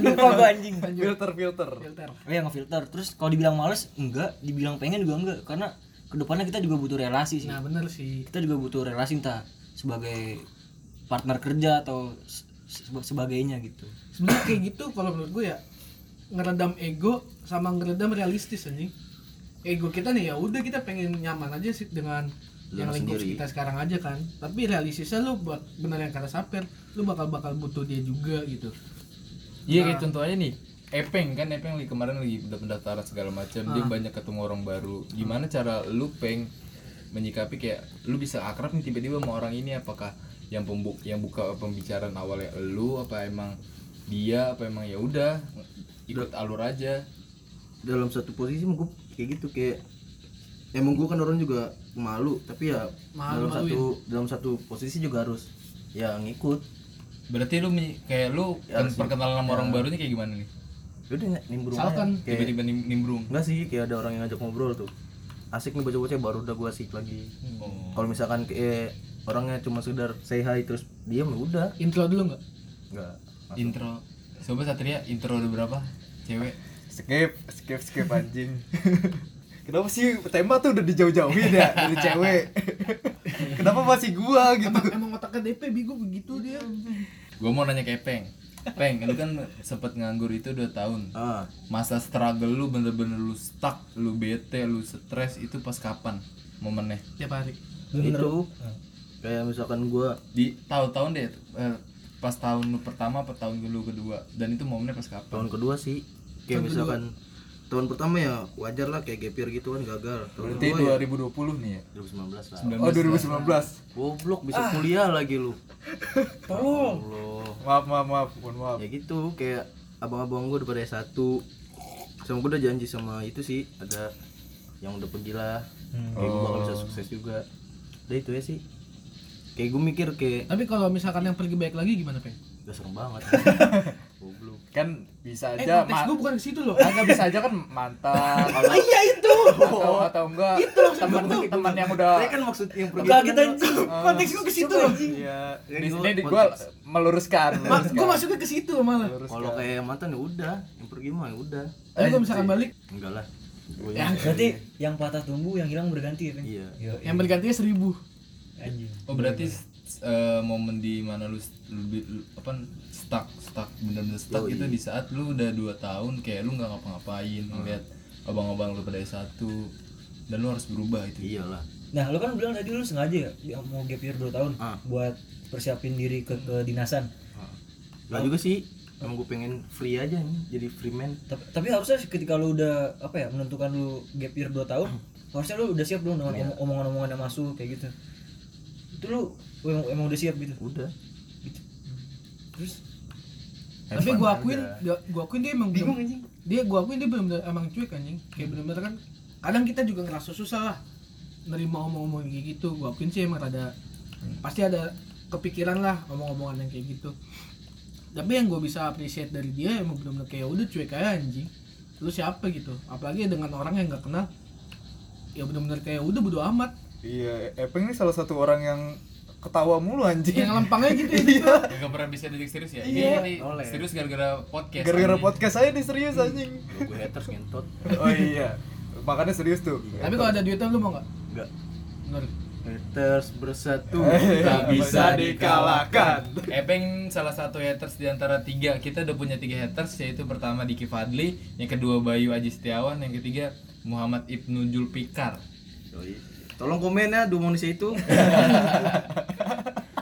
S3: Lupa gua anjing.
S5: filter filter.
S1: filter
S3: Oh iya ngefilter. Terus kalau dibilang males enggak, dibilang pengen juga enggak karena kedepannya kita juga butuh relasi sih.
S1: nah bener sih
S3: Kita juga butuh relasi entah sebagai partner kerja atau se- se- sebagainya gitu.
S1: sebenarnya kayak gitu kalau menurut gue ya ngeredam ego sama ngeredam realistis anjing ego kita nih ya udah kita pengen nyaman aja sih dengan
S6: Lu
S1: yang lingkup
S6: sendiri.
S1: kita sekarang aja kan tapi realistisnya lu buat bener yang kata saper lu bakal bakal butuh dia juga gitu
S2: Iya kayak contohnya nih Epeng kan Epeng lagi kemarin lagi udah pendaftaran segala macam dia banyak ketemu orang baru gimana cara lu peng menyikapi kayak lu bisa akrab nih tiba-tiba sama orang ini apakah yang pembuk yang buka pembicaraan awalnya lu apa emang dia apa emang ya udah ikut alur aja
S6: dalam satu posisi mah gue kayak gitu kayak emang gue kan orang juga malu tapi ya dalam satu dalam satu posisi juga harus ya ngikut
S2: berarti lu menyi- kayak lu kan perkenalan sama orang barunya kayak gimana nih
S6: udah nggak nimbrung aja.
S1: misalkan
S6: kayak
S2: tiba-tiba nim- nimbrung
S6: enggak sih kayak ada orang yang ngajak ngobrol tuh asik nih bocah-bocah baru udah gue asik lagi
S2: Oh.
S6: kalau misalkan kayak orangnya cuma sekedar say hi terus diam ya udah
S1: intro dulu nggak
S6: nggak
S2: intro sobat satria intro udah berapa cewek
S5: Skip skip skip anjing. Kenapa sih tema tuh udah dijauh-jauhin ya dari cewek? Kenapa masih gua gitu?
S1: emang emang otaknya DP bigo begitu dia
S2: gue mau nanya ke Epeng Peng, lu kan sempet nganggur itu 2 tahun
S6: ah
S2: masa struggle lu bener-bener lu stuck lu bete lu stres itu pas kapan momennya
S1: tiap hari
S6: itu kayak misalkan gua
S2: di tahun-tahun deh eh, pas tahun lu pertama apa tahun lu kedua dan itu momennya pas kapan
S6: tahun kedua sih kayak misalkan tahun pertama ya wajar lah kayak gap year gitu kan gagal tahun
S5: Berarti 2020 nih ya.
S6: 2019 lah
S2: 19.
S5: Oh 2019.
S6: goblok bisa kuliah lagi lu tolong
S5: Maaf maaf maaf, mohon maaf.
S6: ya gitu kayak abang-abang gue udah pada S1 sama gue udah janji sama itu sih ada yang udah pergi lah kayak gue bakal bisa sukses juga udah itu ya sih kayak gue mikir kayak
S1: Tapi kalau misalkan yang pergi baik lagi gimana, Peng?
S6: gak serem banget goblok
S5: Kan bisa
S1: Eh,
S5: aja
S1: konteks
S5: ma-
S1: gue bukan ke situ loh.
S5: Agak bisa aja kan mantan atau,
S1: Iya itu.
S5: atau, atau enggak teman teman yang udah
S6: kan maksud yang pergi
S1: Enggak kita anjing. Konteks gue ke situ loh.
S5: Iya.
S6: Yang
S5: Di
S6: gua-
S5: sini gue meluruskan.
S1: Ma,
S5: meluruskan.
S1: gue masuknya ke situ malah.
S6: kalau kayak yang mantan ya udah yang pergi mah ya udah
S1: Tapi kalau misalkan balik,
S6: enggak lah gue
S3: Ya, Berarti yang patah tumbuh, yang hilang berganti ya kan?
S6: Iya.
S3: Yo,
S1: yang bergantinya seribu.
S3: anjing.
S2: oh berarti eh, momen di mana lu, st- lu bi- lu- apa stuck stuck bener-bener stuck itu di saat lu udah dua tahun kayak lu nggak ngapa-ngapain ngeliat abang-abang lu pada S1 dan lu harus berubah itu
S6: iyalah
S3: Nah, lu kan bilang tadi lu sengaja ya yang mau gap year 2 tahun
S6: Ah.
S3: buat persiapin diri ke kedinasan.
S6: enggak juga sih emang gue pengen free aja nih jadi free man
S3: Tapi, tapi harusnya ketika lu udah apa ya menentukan lu gap year 2 tahun, harusnya lu udah siap dong dengan omong- omongan-omongan yang masuk kayak gitu. Itu lu emang, emang udah siap gitu.
S6: udah
S3: Terus
S1: Tapi gue akuin, gue akuin dia emang bingung anjing. Dia gue akuin dia benar-benar emang cuek anjing. Kayak benar-benar kan kadang kita juga ngerasa susah lah nerima omong-omongan kayak gitu. Gue akuin sih emang ada pasti ada kepikiran lah omong-omongan yang kayak gitu. Tapi yang gue bisa appreciate dari dia emang benar-benar kayak udah cuek aja anjing. Lu siapa gitu? Apalagi dengan orang yang nggak kenal. Ya benar-benar kayak udah bodo amat.
S5: Iya, Epeng ini salah satu orang yang ketawa mulu anjing.
S1: Yang lempangnya gitu ya. gitu.
S2: Gak pernah bisa didik serius ya? Iya, serius gara-gara podcast kan?
S5: Gara-gara podcast saya nih serius anjing.
S6: gue haters ngentot
S5: Oh iya. Makanya serius tuh.
S1: Tapi kalau ada duitnya lu mau nggak?
S6: enggak
S1: Menurut.
S6: haters bersatu
S2: Tak bisa
S5: dikalahkan.
S2: Epeng salah satu haters di antara tiga Kita udah punya tiga haters yaitu pertama Diki Fadli Yang kedua Bayu Aji Setiawan Yang ketiga Muhammad Ibnu Julpikar
S6: Yoi. tolong komen ya dua manusia itu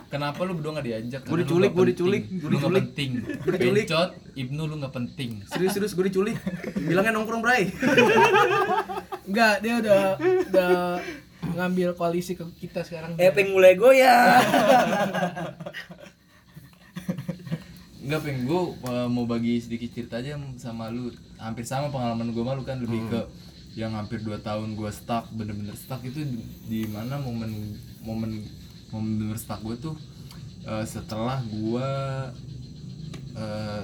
S2: Kenapa lu berdua gak diajak? Karena
S6: Gua
S2: lu
S6: diculik,
S2: gak
S6: gua
S2: penting.
S6: diculik, gua
S2: Lu gak
S6: diculik.
S2: penting
S6: Gua diculik.
S2: Bencot, Ibnu lu gak penting
S6: serius-serius gue diculik bilangnya nongkrong bray
S1: Enggak, dia udah udah ngambil koalisi ke kita sekarang.
S3: Epeng mulai goyah.
S2: Enggak peng, gue eh, mau bagi sedikit cerita aja sama lu Hampir sama pengalaman gue malu kan lebih ke yang hampir 2 tahun gue stuck bener-bener stuck itu di, di mana momen momen momen bener stuck gue tuh eh, setelah gue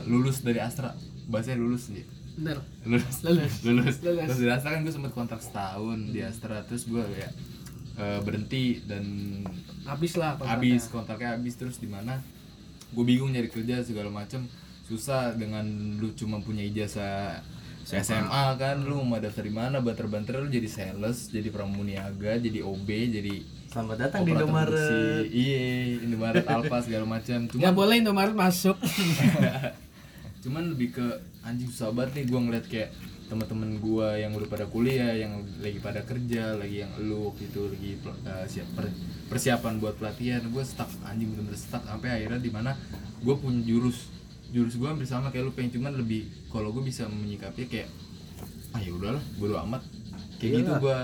S2: lulus dari Astra bahasanya lulus nih
S1: Bener.
S2: lulus
S1: Lulus.
S2: lulus
S1: Lulus.
S2: terus di Astra kan gue sempet kontrak setahun di Astra terus gue kayak eh, berhenti dan
S1: Habis lah kontraknya.
S2: habis kontraknya habis terus di mana gue bingung nyari kerja segala macem susah dengan lu cuma punya ijazah SMA kan lu mau daftar di mana banter-banter lu jadi sales jadi pramuniaga jadi OB jadi
S6: selamat datang di
S2: operator
S6: Indomaret Ya,
S2: kursi. iya Indomaret Alfa segala macam cuma
S1: Nggak boleh Indomaret masuk.
S2: cuman lebih ke anjing susah banget nih gue ngeliat kayak teman-teman gue yang udah pada kuliah yang lagi pada kerja lagi yang elu waktu itu lagi pel- eh, siap per- persiapan buat pelatihan gue stuck anjing bener-bener stuck sampai akhirnya di mana gue punya jurus jurus gue hampir sama kayak lu pengen cuman lebih kalau gue bisa menyikapi kayak ah ya udahlah bodo amat kayak gitu gue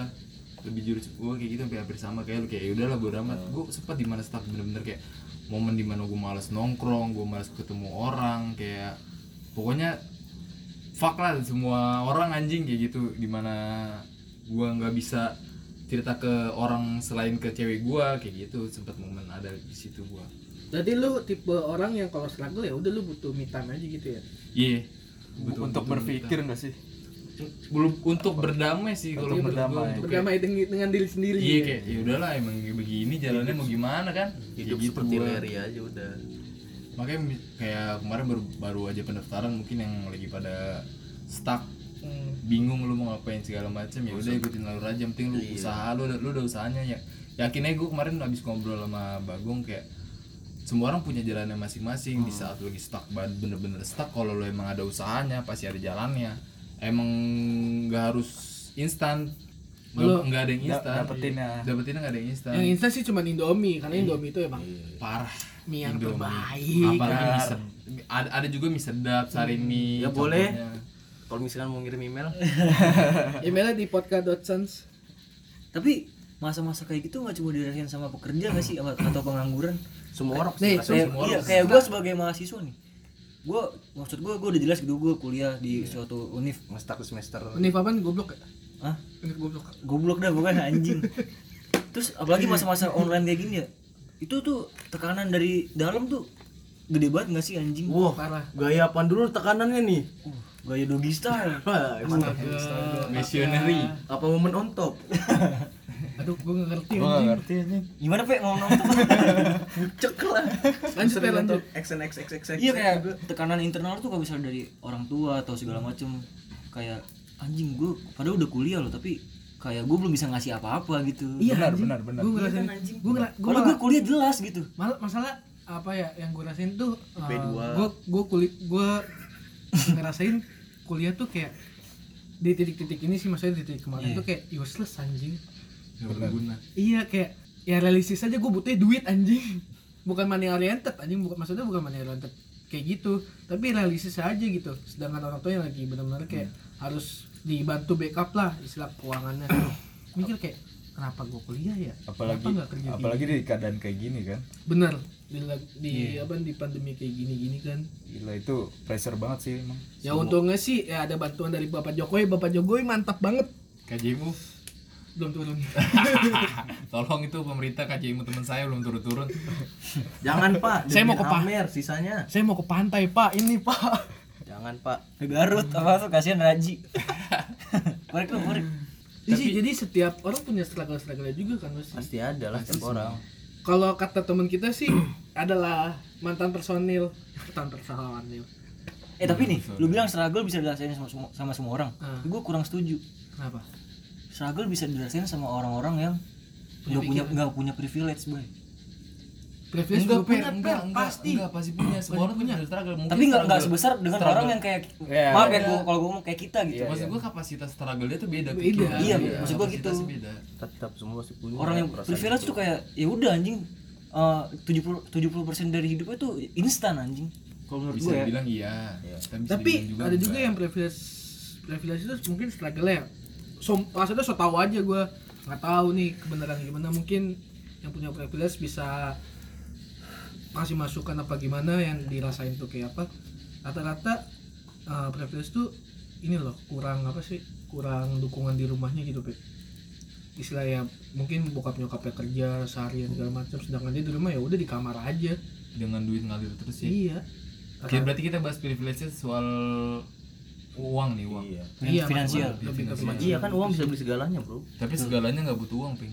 S2: lebih jurus gue kayak gitu hampir hampir sama kayak lu kayak "Ya udahlah bodo amat gue sempat di mana stuck bener-bener kayak momen di mana gue malas nongkrong gue malas ketemu orang kayak pokoknya fuck lah semua orang anjing kayak gitu dimana gua nggak bisa cerita ke orang selain ke cewek gua kayak gitu sempat momen ada di situ gua
S1: Jadi lu tipe orang yang kalau struggle ya udah lu butuh me time aja gitu ya.
S2: iya
S5: Untuk berpikir enggak sih?
S2: belum untuk berdamai sih kalau menurut gua, untuk kayak-
S1: Berdamai dengan, dengan diri sendiri.
S2: iya kayak ya udahlah emang begini jalannya mau gimana kan Kayak
S6: hidup
S2: gitu
S6: seperti
S2: gua.
S6: Larry aja udah
S2: makanya mi- kayak kemarin baru baru aja pendaftaran mungkin yang lagi pada stuck bingung lu mau ngapain segala macam ya udah ikutin alur aja yang penting lu usaha lu udah- lu udah usahanya ya yakinnya gue kemarin abis ngobrol sama Bagong kayak semua orang punya jalannya masing-masing di saat lu lagi stuck banget bener-bener stuck kalau lu emang ada usahanya pasti ada jalannya emang nggak harus instan
S1: Lu-
S2: nggak nggak ada yang
S5: Da-
S2: instan
S5: dapetin ya.
S2: dapetinnya nggak ada yang instan
S1: yang instan sih cuma Indomie karena Indomie itu ya, emang
S2: parah
S1: mie yang
S2: Iya. Indomie.
S1: terbaik
S2: apalagi mie sedap ada, ada juga mie sedap sari mie
S6: Ya, boleh.
S2: contohnya.
S6: Kalau misalkan mau ngirim email,
S1: emailnya di podcast.sans
S3: Tapi masa-masa kayak gitu nggak cuma dirasain sama pekerja nggak sih Apa- atau pengangguran?
S6: semua orang
S1: Nih,
S6: pasti ngerasain
S3: Kayak,
S6: semua
S3: iya,
S6: orang.
S3: kayak gue sebagai mahasiswa nih gue maksud gue gue udah jelas gitu gue kuliah di suatu univ
S6: Semester ke semester.
S1: Ini apaan goblok ya?
S3: ah
S1: Ini goblok.
S3: goblok dah bukan anjing terus apalagi masa-masa online kayak gini ya itu tuh tekanan dari dalam tuh gede banget nggak sih anjing
S6: Wah,
S1: Parah.
S6: gaya apaan dulu tekanannya nih?
S3: Uh, gaya doggy style
S6: Wah, mantap.
S2: missionary
S6: Apa momen on top?
S1: Aduh, gue gak ngerti.
S5: Gua nggak ngerti anjing.
S3: gimana pe ngomong tuh
S6: Bucek lah.
S1: Lanjut,
S6: Sering
S1: lanjut.
S6: nonton Action X X X X.
S3: iya kayak tekanan internal tuh kalau misalnya dari orang tua atau segala macem kayak anjing gue padahal udah kuliah loh tapi kayak gue belum bisa ngasih apa-apa gitu
S1: Iya,
S5: Benar, benar, benar.
S1: Gue ngerasain. Gue ngera, gue
S3: kalau gue kuliah jelas gitu
S1: malah masalah apa ya yang gue rasain tuh eh,
S6: P2.
S1: gue gue kulit gue ngerasain kuliah tuh kayak di titik-titik ini sih maksudnya di titik kemarin tuh kayak useless anjing
S2: nggak berguna
S1: iya kayak ya realistis aja gue butuh duit anjing bukan money oriented anjing bukan maksudnya bukan money oriented kayak gitu tapi realistis aja gitu sedangkan orang tua yang lagi benar-benar kayak harus dibantu backup lah istilah keuangannya mikir kayak kenapa gue kuliah ya
S5: Apalagi
S1: kenapa nggak kerja
S5: apalagi di keadaan kayak gini kan.
S1: benar di, lag- di
S2: Iya.
S1: apa di pandemi kayak gini gini kan
S5: Gila itu pressure banget sih emang.
S1: ya untungnya sih ya ada bantuan dari bapak jokowi bapak jokowi mantap banget
S2: KJMU
S1: belum turun
S2: tolong itu pemerintah KJMU teman saya belum turun-turun
S6: Jangan, Pak.
S1: Saya mau ke
S6: Demi
S1: Pak.
S6: Amer sisanya.
S1: saya mau ke pantai pak ini pak
S6: Jangan, Pak.
S3: ke Garut apa tuh kasihan Raji korek lo korek
S1: jadi, jadi setiap orang punya struggle struggle juga kan Mas?
S6: Pasti ada lah setiap orang.
S1: kalau kata teman kita sih adalah mantan personil mantan personil
S3: eh tapi nih lu bilang struggle bisa dirasain sama semua, sama semua orang
S1: Ah.
S3: gue kurang setuju
S1: kenapa
S3: struggle bisa dirasain sama orang-orang yang nggak punya nggak punya privilege boy
S1: privilege
S2: enggak,
S1: gua
S2: Per,
S1: punya,
S2: enggak,
S1: Per,
S2: enggak,
S1: pasti
S2: enggak, pasti punya. Semua orang punya struggle. Mungkin
S3: tapi nggak nggak
S2: struggle-
S3: sebesar dengan
S2: struggle.
S3: orang yang kayak
S5: Iya,
S3: maaf
S5: iya.
S3: ya gua- kalau gue ngomong kayak kita gitu
S2: Maksud gua kapasitas struggle dia tuh beda.
S1: Beda.
S2: pikiran.
S1: Iya,
S3: maksud gua gitu.
S2: kapasitas beda.
S6: Tetap semua pasti punya.
S3: orang yang
S6: perasaan
S3: privilege
S6: itu.
S3: tuh kayak ya udah anjing eh, 70 70% dari hidupnya tuh instan anjing kalau menurut
S2: Bisa
S3: gue ya
S2: dibilang iya. bisa
S1: tapi
S2: dibilang
S1: ada juga
S2: enggak.
S1: yang privilege privilege itu mungkin struggle ya so, maksudnya so tau aja gue nggak tahu nih kebenarannya gimana mungkin yang punya privilege bisa kasih masukan apa gimana yang dirasain tuh kayak apa rata-rata eh, privilege tuh ini loh kurang apa sih kurang dukungan di rumahnya gitu Pe. istilah ya mungkin bokap nyokapnya kerja seharian segala macam sedangkan dia di rumah ya udah di kamar aja
S2: dengan duit ngalir terus ya.
S1: iya
S2: Oke, berarti kita bahas privilege soal uang nih, uang.
S6: Iya.
S1: iya
S3: finansial.
S1: maksudnya lebih ke
S2: Finansial.
S1: finansial.
S6: Iya kan uang bisa beli segalanya, Bro.
S2: Tapi segalanya nggak butuh uang, Ping.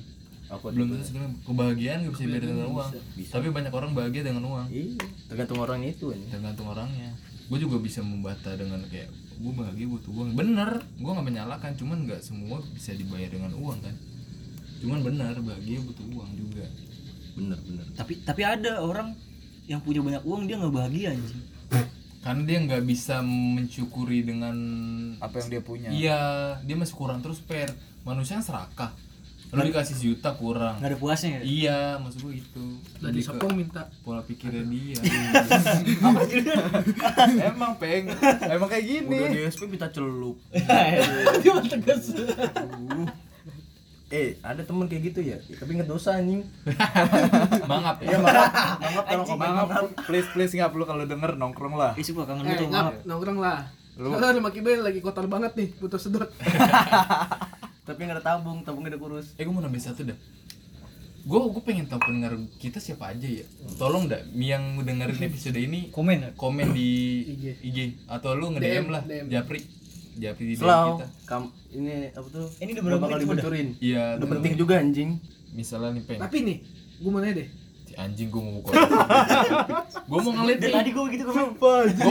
S6: Aku
S2: Belum tentu segalanya kebahagiaan nggak bisa dibeli dengan uang. Tapi banyak orang bahagia dengan uang.
S6: Iya, tergantung orangnya itu ini.
S2: tergantung orangnya gue juga bisa membata dengan kayak gue bahagia butuh uang bener gue nggak menyalahkan cuman nggak semua bisa dibayar dengan uang kan cuman bener bahagia butuh uang juga
S6: Bener, bener.
S3: tapi tapi ada orang yang punya banyak uang dia nggak bahagia anjing
S2: karena dia nggak bisa mencukuri dengan
S5: Apa yang dia punya.
S2: iya dia masih kurang terus per manusia yang serakah lu dikasih sejuta kurang
S3: nggak ada puasnya ya
S2: iya maksud gue itu
S1: dari
S2: Lebih ke
S1: Sepong minta
S2: pola pikirnya dia
S5: emang peng. Emang kayak gini.
S6: Udah DSP minta celup. Aduh. Eh, ada temen kayak gitu ya, tapi ngedosa anjing.
S2: mangap
S6: Iya, mangap, mangap tolong komen
S5: Bang,
S6: mangap.
S5: please please ngap lu kalau denger nongkrong lah.
S3: eh sumpah kangen
S1: Eh,
S3: gitu
S1: ngap, nongkrong lah. Lu rumah kibel lagi kotor banget nih, butuh sedot.
S6: Tapi nggak ada tabung, tabungnya udah kurus.
S2: Eh gue mau nambahin satu dah Gue gue pengen tahu pendengar kita siapa aja ya Tolong dah yang dengerin episode ini
S3: komen ya?
S2: Komen di
S1: IG.
S2: IG Atau lu nge-DM
S1: DM,
S2: lah
S1: DM.
S2: Japri Japri
S1: Iya,
S2: di DM
S6: Slow.
S1: gitu.
S2: kita
S6: Kam ini apa tuh?
S3: Ini udah berapa
S6: bakal
S3: menit udah?
S6: dibocorin.
S2: Iya
S6: Udah
S2: tolong.
S6: penting juga anjing.
S2: Misalnya nih Peng
S1: Tapi nih, gue mau nanya deh.
S2: Si Anjing gue mau buka Gue mau ngeliat
S3: dari tadi gue gitu gue
S2: Gue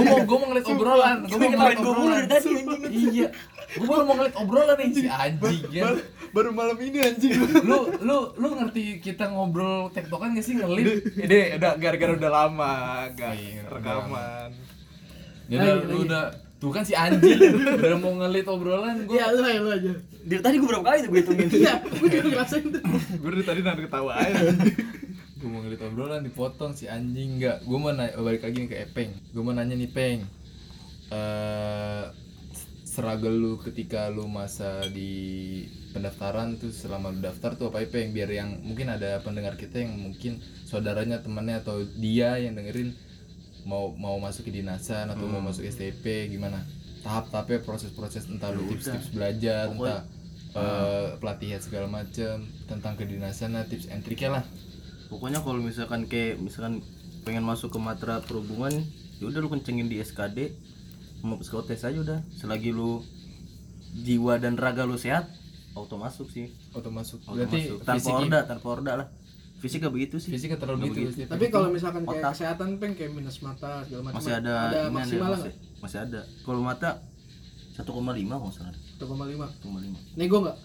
S2: mau, gue mau ngeliat obrolan Gue mau ngeliat
S3: gue mulu
S2: obrolan
S3: dari tadi anjing
S2: Iya Gue baru mau ngeliat obrolan nih si anjing ya
S4: Baru malam ini anjing.
S2: Lu, lu, lu ngerti kita ngobrol tektokan gak sih ngelit?
S4: Iya.
S5: Ini udah gara-gara udah lama
S2: Iya,
S5: gak
S2: udah
S5: rekaman.
S2: Ya udah,
S4: Iya,
S1: Lagi,
S2: lu
S1: lagi.
S2: udah Tuh kan si anjing udah mau ngelit obrolan gue.
S4: Iya,
S1: ya lu aja lu aja
S3: Dari tadi gue berapa kali tuh gue hitungin.
S1: iya gue juga ngerasain tuh
S2: gue dari tadi nahan ketawa aja gue mau ngelit obrolan dipotong si anjing nggak gue mau nanya, balik lagi nih ke Epeng gue mau nanya nih Peng Eh struggle lu ketika lu masa di pendaftaran tuh selama lu daftar tuh apa ya, Peng biar yang mungkin ada pendengar kita yang mungkin saudaranya temannya atau dia yang dengerin mau mau masuk ke dinasan atau mau masuk STP gimana tahap-tahapnya proses-proses entah lu tips-tips belajar entah eh, pelatihan segala macem tentang kedinasan lah, tips and triknya lah
S6: pokoknya kalau misalkan kayak misalkan pengen masuk ke matra perhubungan ya udah lu kencengin di SKD sama psikotes aja udah selagi lu jiwa dan raga lu sehat auto masuk sih
S2: atau masuk
S6: auto
S2: berarti
S6: masuk. tanpa
S2: fisik
S6: orda tanpa orda lah fisika begitu sih
S2: fisik terlalu gitu STP.
S1: tapi kalau misalkan kayak
S6: Otak.
S1: kesehatan peng kayak minus mata segala macam
S6: masih ada, ini ada
S1: maksimal
S6: masih,
S1: nggak
S6: masih ada kalau mata 1,5 kalau nggak salah
S1: 1,5
S6: 1,5
S1: nego nggak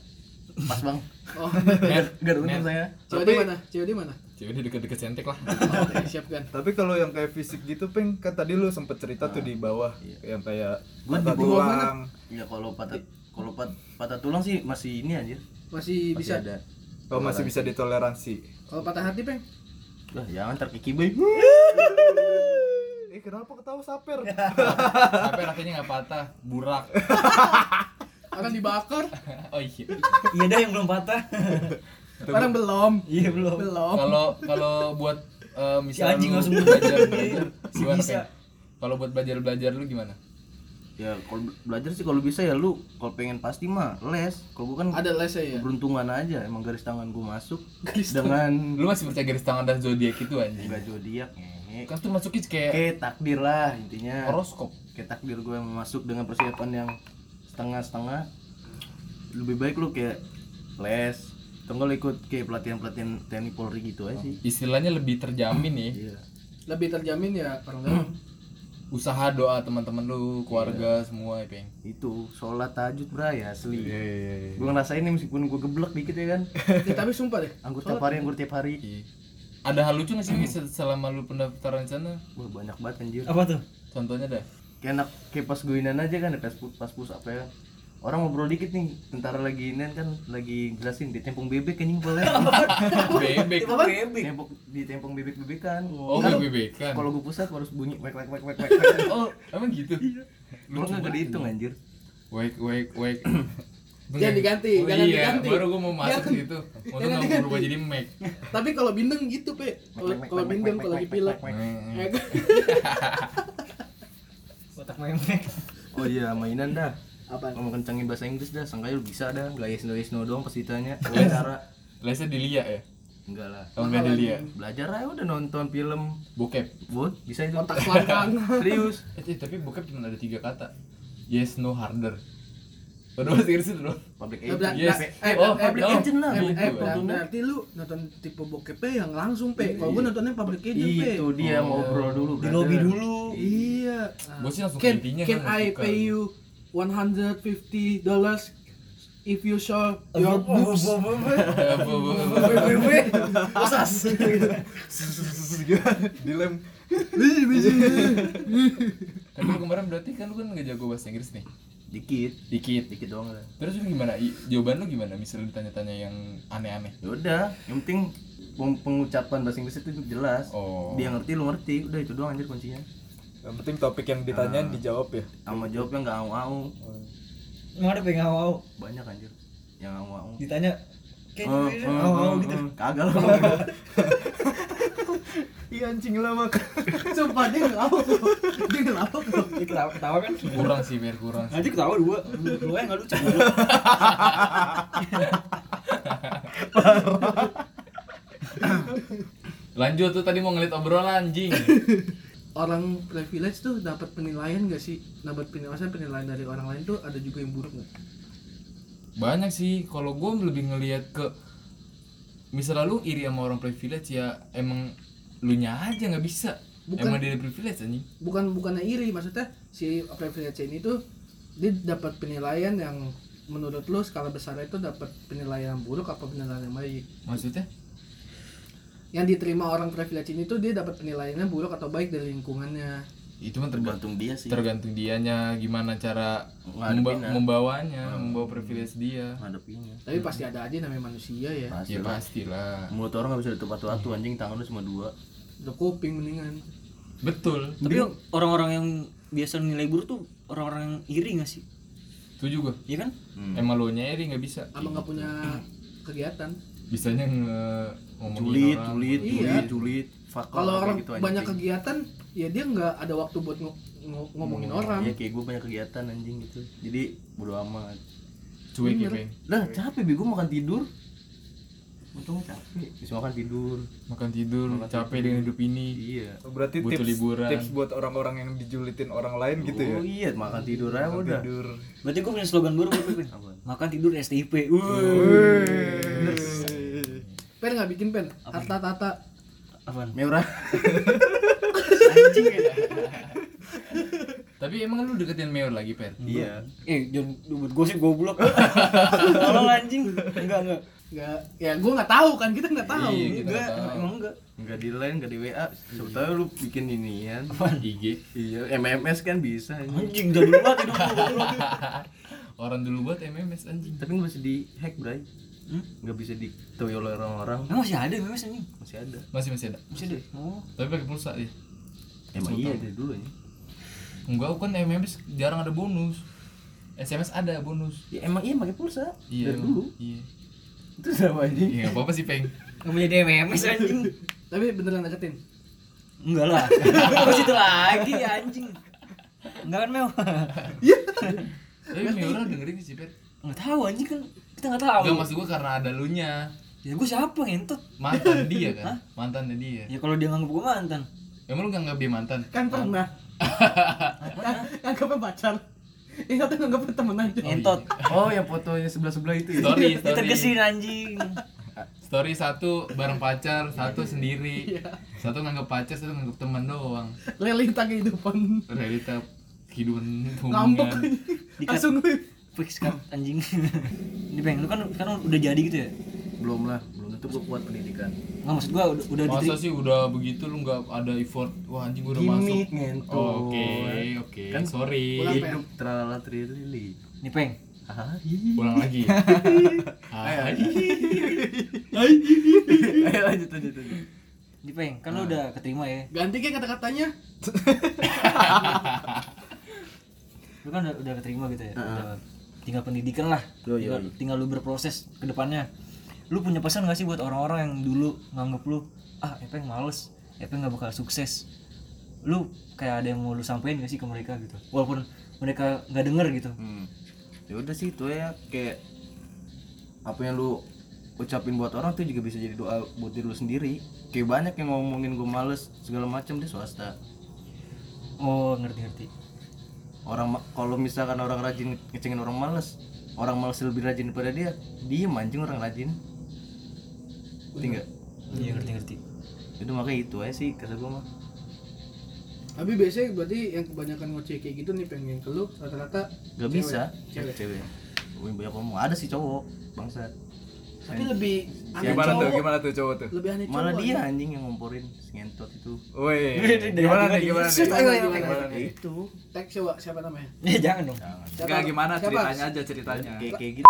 S6: pas bang
S1: oh
S6: gak untung saya
S1: COD mana COD mana
S2: jadi Nah, ya deket-deket centek lah
S1: oh, siap kan
S5: Tapi kalau yang kayak fisik gitu peng kan tadi lu sempet cerita tuh di bawah
S2: Iya.
S5: yang kayak
S6: Gua
S5: patah
S6: di bawah
S5: tulang.
S6: ya kalau patah kalau pat- patah tulang sih masih ini anjir
S1: masih,
S6: masih
S1: bisa
S6: ada
S5: Oh masih bisa ditoleransi.
S1: kalau patah hati peng
S6: Wah, jangan terkikibai
S5: Eh kenapa ketawa saper?
S2: sampai kakinya nggak patah burak
S1: akan dibakar
S2: oh iya
S3: Iya dah yang belum patah.
S1: orang belum
S3: Iya belum.
S1: belum
S2: kalau kalau buat eh, misalnya
S3: anjing
S2: lu
S3: langsung
S2: belajar belajar
S3: Si
S2: gimana
S3: bisa.
S2: Peng? kalau buat belajar belajar lu gimana
S6: ya kalau be- belajar sih kalau bisa ya lu kalau pengen pasti mah les kalau gua kan
S1: ada lesnya ya
S6: keberuntungan aja emang garis tangan gua masuk
S1: Garis
S6: dengan
S2: lu masih percaya garis tangan dan zodiak itu anjing
S6: enggak zodiak ngehe.
S2: kan tuh masuknya kayak
S6: kayak takdir lah
S1: Iya.
S6: intinya
S2: horoskop
S6: kayak takdir gue yang masuk dengan persiapan yang setengah-setengah lebih baik lu kayak les atau enggak lu ikut kayak pelatihan-pelatihan TNI Polri gitu aja sih
S2: istilahnya lebih terjamin nih
S6: iya
S1: lebih terjamin ya orang dalam
S2: usaha doa teman-teman lu
S1: Iya.
S2: keluarga semua ya peng
S6: itu sholat tahajud bray asli gue ngerasain nih meskipun gue geblek dikit ya kan
S1: Ya, tapi sumpah deh
S6: anggur tiap hari anggur tiap hari
S2: Iya. ada hal lucu nggak sih Wi, se- selama lu pendaftaran di sana
S6: Wah, banyak banget anjir
S3: Apa tuh?
S2: contohnya dah
S6: kayak enak kayak pas gue inan aja kan pas pus pas pus apa ya kan. orang ngobrol dikit nih tentara lagi inan kan lagi jelasin di tempung bebek anjing boleh
S2: bebek
S6: Tempung- di tempung bebek bebek kan
S2: oh
S6: Kan
S2: bebek kan
S6: kalau gue pusat harus bunyi wek wek wek wek wek
S2: oh emang gitu
S1: Iya.
S6: lu nggak gede hitung anjir
S2: wake wake wake
S1: Jangan diganti,
S2: Oh
S1: jangan
S2: iya,
S1: diganti.
S2: baru gue mau masuk
S1: Jangan-
S2: situ mau
S1: jangan
S2: nggak mau
S1: diganti.
S2: berubah jadi Mac
S1: tapi kalau bindeng gitu pe kalau kalau bindeng kalau lagi pilek
S2: Hmm.
S1: Eh,
S3: Otak memek.
S6: oh iya mainan dah
S1: apa
S6: ngomong kencengin bahasa Inggris dah sangkanya lu bisa dah nggak yes no yes no doang pas ditanya wawancara
S2: lesnya dilihat ya
S6: enggak lah
S2: kalau nggak dilihat
S6: belajar aja udah nonton film
S2: bokep
S6: buat bisa itu
S1: otak selangkang
S6: serius
S2: eh Ci, tapi bokep cuma ada tiga kata yes no harder Waduh, bahasa Inggris itu dong.
S6: public
S1: Ya, ber-
S6: eye
S2: Yes.
S1: ber- eh,
S2: Iya, Oh,
S1: eh,
S2: public
S1: eh,
S6: agent lah,
S1: eh,
S6: gitu,
S1: eh,
S6: kan.
S1: berarti lu nonton tipe bokep ya yang langsung pe kalau
S2: Iya.
S1: gua nontonnya public agent pe
S6: itu dia ngobrol dulu
S3: Di
S6: brother.
S3: lobby dulu.
S1: iya Ah.
S2: Bosnya langsung
S1: can,
S2: ke intinya,
S1: can
S2: kan,
S1: I
S2: langsung
S1: pay
S2: ke-
S1: you 150 dollars if you show your boobs
S2: Eh, bu- bu- bu- bu-
S5: Dilem.
S2: Tapi lu kemarin berarti kan lu kan nggak jago bahasa Inggris nih.
S6: dikit
S2: Dikit.
S6: dikit doang kan. lah
S2: Terus lu gimana? I- jawaban lu gimana? Misalnya ditanya-tanya yang aneh-aneh.
S6: ya udah yang penting peng- pengucapan bahasa Inggris itu jelas
S2: Oh.
S6: dia ngerti lu ngerti udah itu doang anjir kuncinya
S5: Yang penting topik yang ditanyain dijawab ya.
S6: sama jawabnya nggak au au
S3: Emang ada pengen awal
S6: banyak anjir yang au au
S3: ditanya kayak
S2: Ah,
S6: Oh,
S3: gitu,
S6: oh,
S3: awal
S6: oh,
S3: gitu.
S6: oh. kagak lah
S5: Iya anjing lama.
S1: sumpah dia ngelawak loh dia ngelawak loh
S3: Dia ketawa, ketawa kan.
S2: Kurang sih, biar kurang.
S3: Nanti ketawa dua. Lu yang enggak lucu.
S2: Lanjut tuh tadi mau ngelit obrolan anjing.
S1: orang privilege tuh dapat penilaian gak sih dapat penilaian maksudnya penilaian dari orang lain tuh ada juga yang buruk nggak
S2: Banyak sih. Kalau gue lebih ngelihat ke misalnya lu iri sama orang privilege ya emang lu nya aja nggak bisa.
S1: Bukan.
S2: Emang dia privilege anjing.
S1: bukan bukannya iri maksudnya si privilege ini tuh dia dapat penilaian yang menurut lu skala besar itu dapat penilaian yang buruk apa penilaian yang baik
S2: Maksudnya?
S1: yang diterima orang privilege ini tuh dia dapat penilaiannya buruk atau baik dari lingkungannya
S2: itu mah tergantung
S6: tergantung dia sih
S2: tergantung dianya gimana cara memba-
S6: Ngadepin, ah.
S2: membawanya membawa privilege dia
S6: menghadapinya
S1: tapi pasti ada aja namanya manusia ya
S6: pasti
S2: ya Hmm.
S6: lah.
S2: pastilah
S6: mulut orang nggak bisa ditepat waktu anjing tangan lu cuma dua
S1: udah kuping mendingan
S2: betul
S3: Tapi orang-orang yang biasa nilai buruk tuh orang-orang yang iri gak sih?
S2: itu juga
S3: Iya kan?
S2: emang lo nyeri nggak bisa
S1: sama nggak punya
S6: Hmm.
S1: kegiatan
S2: bisanya nge ngomongin
S6: culit
S2: orang.
S6: culit
S1: Iya.
S6: culit culit fuck
S1: kalau
S6: lah, kayak
S1: orang
S6: gitu, anjing.
S1: banyak kegiatan ya dia nggak ada waktu buat ngo- ngo- ngomongin orang
S6: Iya kayak gue banyak kegiatan anjing gitu jadi bodo amat
S2: cuek ya Bang.
S6: lah capek bi gue makan tidur untung capek bisa makan tidur
S2: makan tidur capek dengan hidup ini
S6: iya
S5: Berarti
S2: Butuh
S5: tips
S2: liburan.
S5: tips buat orang-orang yang dijulitin orang lain gitu ya.
S6: oh iya makan tidur aja udah
S5: Tidur.
S3: Berarti gue punya slogan baru buat lu, Pin.
S6: Apa?
S3: Makan tidur STIP. Wuih.
S1: pen nggak bikin pen harta tata
S3: Apaan?
S6: merah
S2: tapi emang lu deketin Meor lagi per
S6: iya
S3: Eh, jangan buat gosip goblok. Tolong anjing. Enggak, enggak.
S1: nggak ya gue nggak tahu kan kita nggak tahu
S2: Iya, kita
S3: Enggak,
S2: nggak tahu.
S3: emang enggak.
S6: nggak di line nggak di wa siapa tahu lu bikin inian
S2: IG
S6: iya mms kan bisa anjing.
S3: Anjing jadul banget hidup lu goblok.
S2: orang dulu buat MMS anjing
S6: tapi nggak bisa di hack bray
S3: Hmm?
S6: nggak bisa diketahui oleh orang-orang
S3: Emang masih ada memes anjing.
S6: masih ada
S2: masih masih ada
S3: Masih ada. Oh.
S2: tapi pakai pulsa ya
S6: emang iya dari dulu ya
S2: enggak kan MMS jarang ada bonus SMS ada bonus
S6: ya emang iya pakai pulsa
S2: iya
S6: dari
S2: emang.
S6: dulu
S2: iya
S6: itu sama anjing
S2: iya apa apa sih peng
S3: Enggak menjadi memes anjing.
S1: tapi beneran deketin
S3: Enggak lah. Terus itu Oh, lagi anjing. Enggak kan, Mel?
S2: tapi Meor dengerin sih per
S3: Enggak tahu anjing kan. Kita enggak tahu.
S2: enggak maksud gua karena ada lu nya
S3: Ya gue siapa ngentot?
S2: mantan dia kan mantannya dia
S3: Ya kalau dia nganggap gue mantan.
S2: emang lu nggak nggak dia mantan
S1: kan pernah nganggapnya pacar Ingat tuh nganggapnya temen aja
S3: Ngentot.
S6: oh yang fotonya sebelah sebelah itu ya
S2: story
S3: Dia
S2: story
S3: tergesin anjing.
S2: story satu bareng pacar satu sendiri satu nganggap pacar satu nganggap teman doang
S1: realita kehidupan
S2: realita kehidupan
S1: ngambek
S2: hubungan
S3: Dikat-
S1: langsung gue
S3: Fix cut anjing. Ini peng, lu kan sekarang udah jadi gitu ya?
S6: belum lah belum itu gue kuat pendidikan
S3: Enggak maksud gua udah udah
S2: masa
S3: diterima.
S2: sih udah begitu lu nggak ada effort wah anjing gua udah masuk
S6: Gimik, ngentot.
S2: oke oke
S6: Kan
S2: sorry
S1: pulang,
S6: hidup tralala trilili
S3: Nih peng.
S6: ah hihi.
S2: pulang lagi Hai.
S6: ayo lanjut lanjut lanjut
S3: Nih peng, kan lu udah keterima ya.
S1: ganti kayak kata-katanya
S3: Lu kan udah, udah keterima gitu ya.
S6: Heeh.
S3: Udah tinggal pendidikan lah.
S6: Yoi,
S3: Tinggal,
S6: yoi.
S3: tinggal lu berproses ke depannya. Lu punya pesan gak sih buat orang-orang yang dulu nganggep lu ah Epeng males, Epeng gak bakal sukses. Lu kayak ada yang mau lu sampein gak sih ke mereka gitu. Walaupun mereka nggak denger gitu.
S6: hmm. ya udah sih itu ya kayak apa yang lu ucapin buat orang tuh juga bisa jadi doa buat diri lu sendiri kayak banyak yang ngomongin gue males segala macam di swasta
S3: Oh, ngerti-ngerti.
S6: orang ma- kalau misalkan orang rajin nge- ngecengin orang males orang males lebih rajin daripada dia diem anjing orang rajin tinggal
S3: Iya, ngerti-ngerti.
S6: itu makanya itu aja sih kata gue mah
S1: tapi biasanya berarti yang kebanyakan ngoceh kayak gitu nih pengen ke lu rata-rata
S6: Gak
S1: cewek.
S6: bisa
S1: Cewek.
S6: cewek. Wih, banyak ngomong ada sih cowok bangsat.
S1: tapi lebih aneh
S5: Gimana tuh?
S1: cowok
S5: Gimana tuh cowok tuh?
S1: lebih aneh Iya,
S6: Malah
S1: cowok
S6: dia anjing yang ngomporin si ngentot itu.
S5: Woi.
S6: Iya,
S3: Dari
S5: Gimana
S3: hati
S5: nih? Gimana
S3: gua
S5: nih?
S3: diusut, ayo, ayo, ayo.
S5: Gimana
S6: Ya
S5: nih?
S6: itu.
S1: tag siapa siapa namanya
S3: Ya jangan dong.
S1: siapa
S5: Enggak gimana
S1: siapa?
S5: ceritanya aja ceritanya.
S6: Kayak kayak gitu.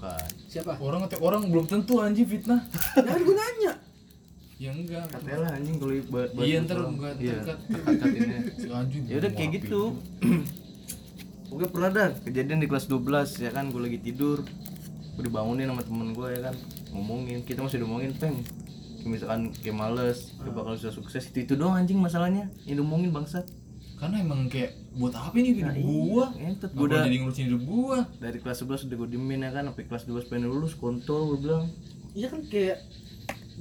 S6: Bukan.
S1: siapa
S2: orang ngetek orang belum tentu anjing fitnah
S1: jangan gue nanya
S2: ya enggak
S6: Katanya lah anjing kalau buat buat
S2: iya ntar
S6: orang.
S2: gua
S6: Iya.
S2: terkat
S6: Angkatinnya.
S2: si anjing
S6: Ya udah kayak
S2: mau
S6: gitu. Oke pernah ada kejadian di kelas 12 ya kan gue lagi tidur. Gue dibangunin sama temen gue ya kan ngomongin kita masih ngomongin peng Kayak misalkan kayak males, kayak bakal susah sukses itu itu doang anjing masalahnya. Ini ngomongin bangsat.
S2: apin. karena emang kayak buat apa ini hidup gua
S6: Ngentot
S2: Gua
S6: gue udah
S2: jadi ngurusin hidup gua
S6: dari kelas 11 udah gue diemin ya kan sampai kelas 12 pengen lulus kontol gue bilang
S1: iya kan kayak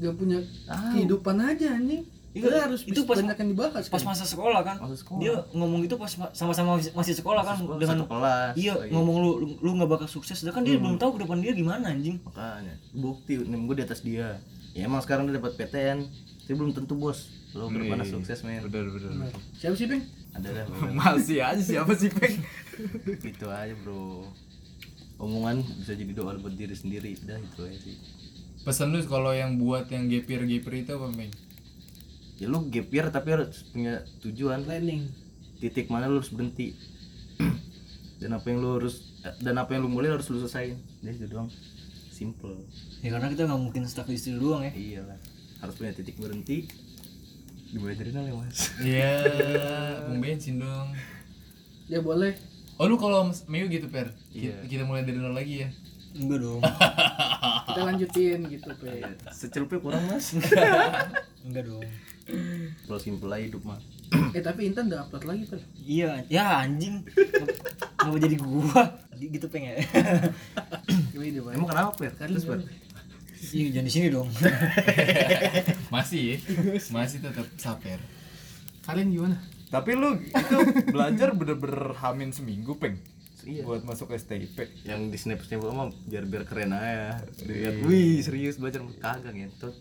S1: gak punya
S6: Ah.
S1: kehidupan aja anjing itu
S3: Iya,
S1: harus
S3: itu
S1: itu
S3: pas-
S1: banyak yang dibahas
S3: Pas
S1: kan?
S3: masa sekolah kan.
S6: Masa sekolah.
S3: Dia ngomong gitu pas ma- sama-sama masih sekolah kan
S6: sekolah, Hmm.
S3: dengan
S6: satu kelas gitu.
S3: Iya,
S6: lagi.
S3: ngomong lu lu- lu nggak bakal sukses. Sedangkan dia belum tahu ke depan dia gimana anjing.
S6: makanya bukti nem gue di atas dia ya emang sekarang dia dapat PTN tapi belum tentu bos lo ke depannya sukses men
S2: Iya, bener bener
S1: siapa sih peng
S6: ada dah
S5: Masih aja siapa sih Peng?
S6: gitu aja bro omongan bisa jadi doa buat diri sendiri dah itu aja sih
S2: pesan lu kalau yang buat yang gepir gepir itu apa Meng?
S6: ya lu gap year tapi harus punya tujuan
S1: planning
S6: titik mana lu harus berhenti dan apa yang lu harus dan apa yang lu mulai harus lu selesaiin jadi itu doang simple
S3: ya karena kita nggak mungkin stuck di situ doang ya
S6: iyalah harus punya titik berhenti dimulai dari nol ya mas
S2: Iya, bung bensin dong.
S1: ya boleh
S2: Oh lu kalau Mas Mayu gitu per, Ki- kita mulai dari nol lagi ya.
S3: enggak dong
S1: kita lanjutin gitu pe
S6: secelupnya Iya, kurang mas
S3: enggak dong
S6: kalau simple lah hidup mah
S1: eh tapi Intan udah upload lagi pe
S3: iya ya anjing kenapa jadi gua gitu pengen
S2: Iya,
S1: gimana deh
S6: emang kenapa per
S2: Kan
S6: terus per
S3: iya jangan di sini dong
S2: Masih, ya? masih tetap saper.
S1: kalian gimana
S5: Tapi lu itu belajar bener-bener hamin seminggu peng
S6: Iya.
S5: buat masuk STIP.
S6: yang di snap snap mah biar biar
S2: Iya.
S6: keren aja dilihat wih serius belajar kagak ngentot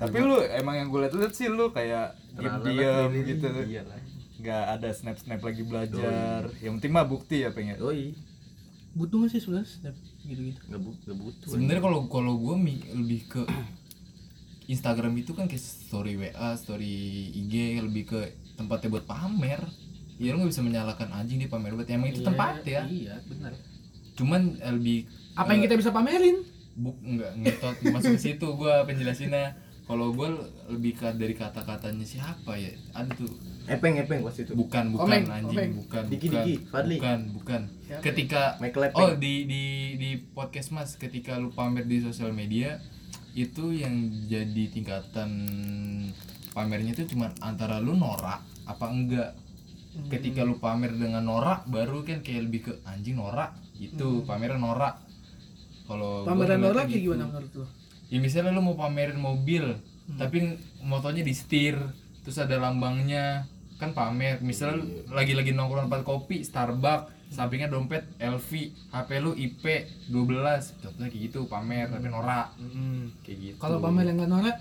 S5: Tapi lu emang yang gue liat-liat sih lu kayak diam
S6: Terlalu-
S5: gitu.
S6: iyalah
S5: Nggak ada snap-snap lagi belajar. Yang penting mah bukti ya pengen.
S6: doi
S1: butuh gak sih sebenarnya snap gitu-gitu
S6: nggak bu nggak butuh
S2: Sebenarnya kalau kalau gue lebih ke Instagram itu kan kayak story WA, story IG lebih ke tempatnya buat pamer. Ya lu gak bisa menyalahkan anjing dia pamer buat emang itu tempat ya.
S1: iya benar
S2: Cuman eh, lebih
S1: apa yang kita bisa pamerin
S2: buk nggak ngetot masuk ke situ gua penjelasinnya kalau gua lebih ke dari kata-katanya siapa ya ada tuh
S6: epeng epeng pas itu
S2: bukan bukan
S1: Komeng,
S2: anjing
S1: Komeng.
S2: bukan
S6: Diki,
S2: bukan
S6: Diki, Fadli.
S2: bukan bukan
S1: Siapa?
S2: ketika
S6: Michael Epeng.
S2: oh di di di podcast mas ketika lu pamer di sosial media itu yang jadi tingkatan pamernya itu cuma antara lu norak apa enggak
S1: Hmm.
S2: ketika lu pamer dengan norak baru kan kayak lebih ke anjing norak gitu pameran norak kalau
S1: Hmm.
S2: gua
S1: pameran
S2: ngeliatnya
S1: orang kayak
S2: gitu.
S1: gimana menurut lo
S2: Ya misalnya lu mau pamerin mobil, tapi motornya di setir, terus ada lambangnya, kan pamer. Misalnya lu lagi-lagi nongkrong tempat kopi, Starbucks, sampingnya dompet LV, HP lu IP 12, contohnya kayak gitu, pamer tapi norak. Kayak gitu.
S1: kalau pamer yang gak norak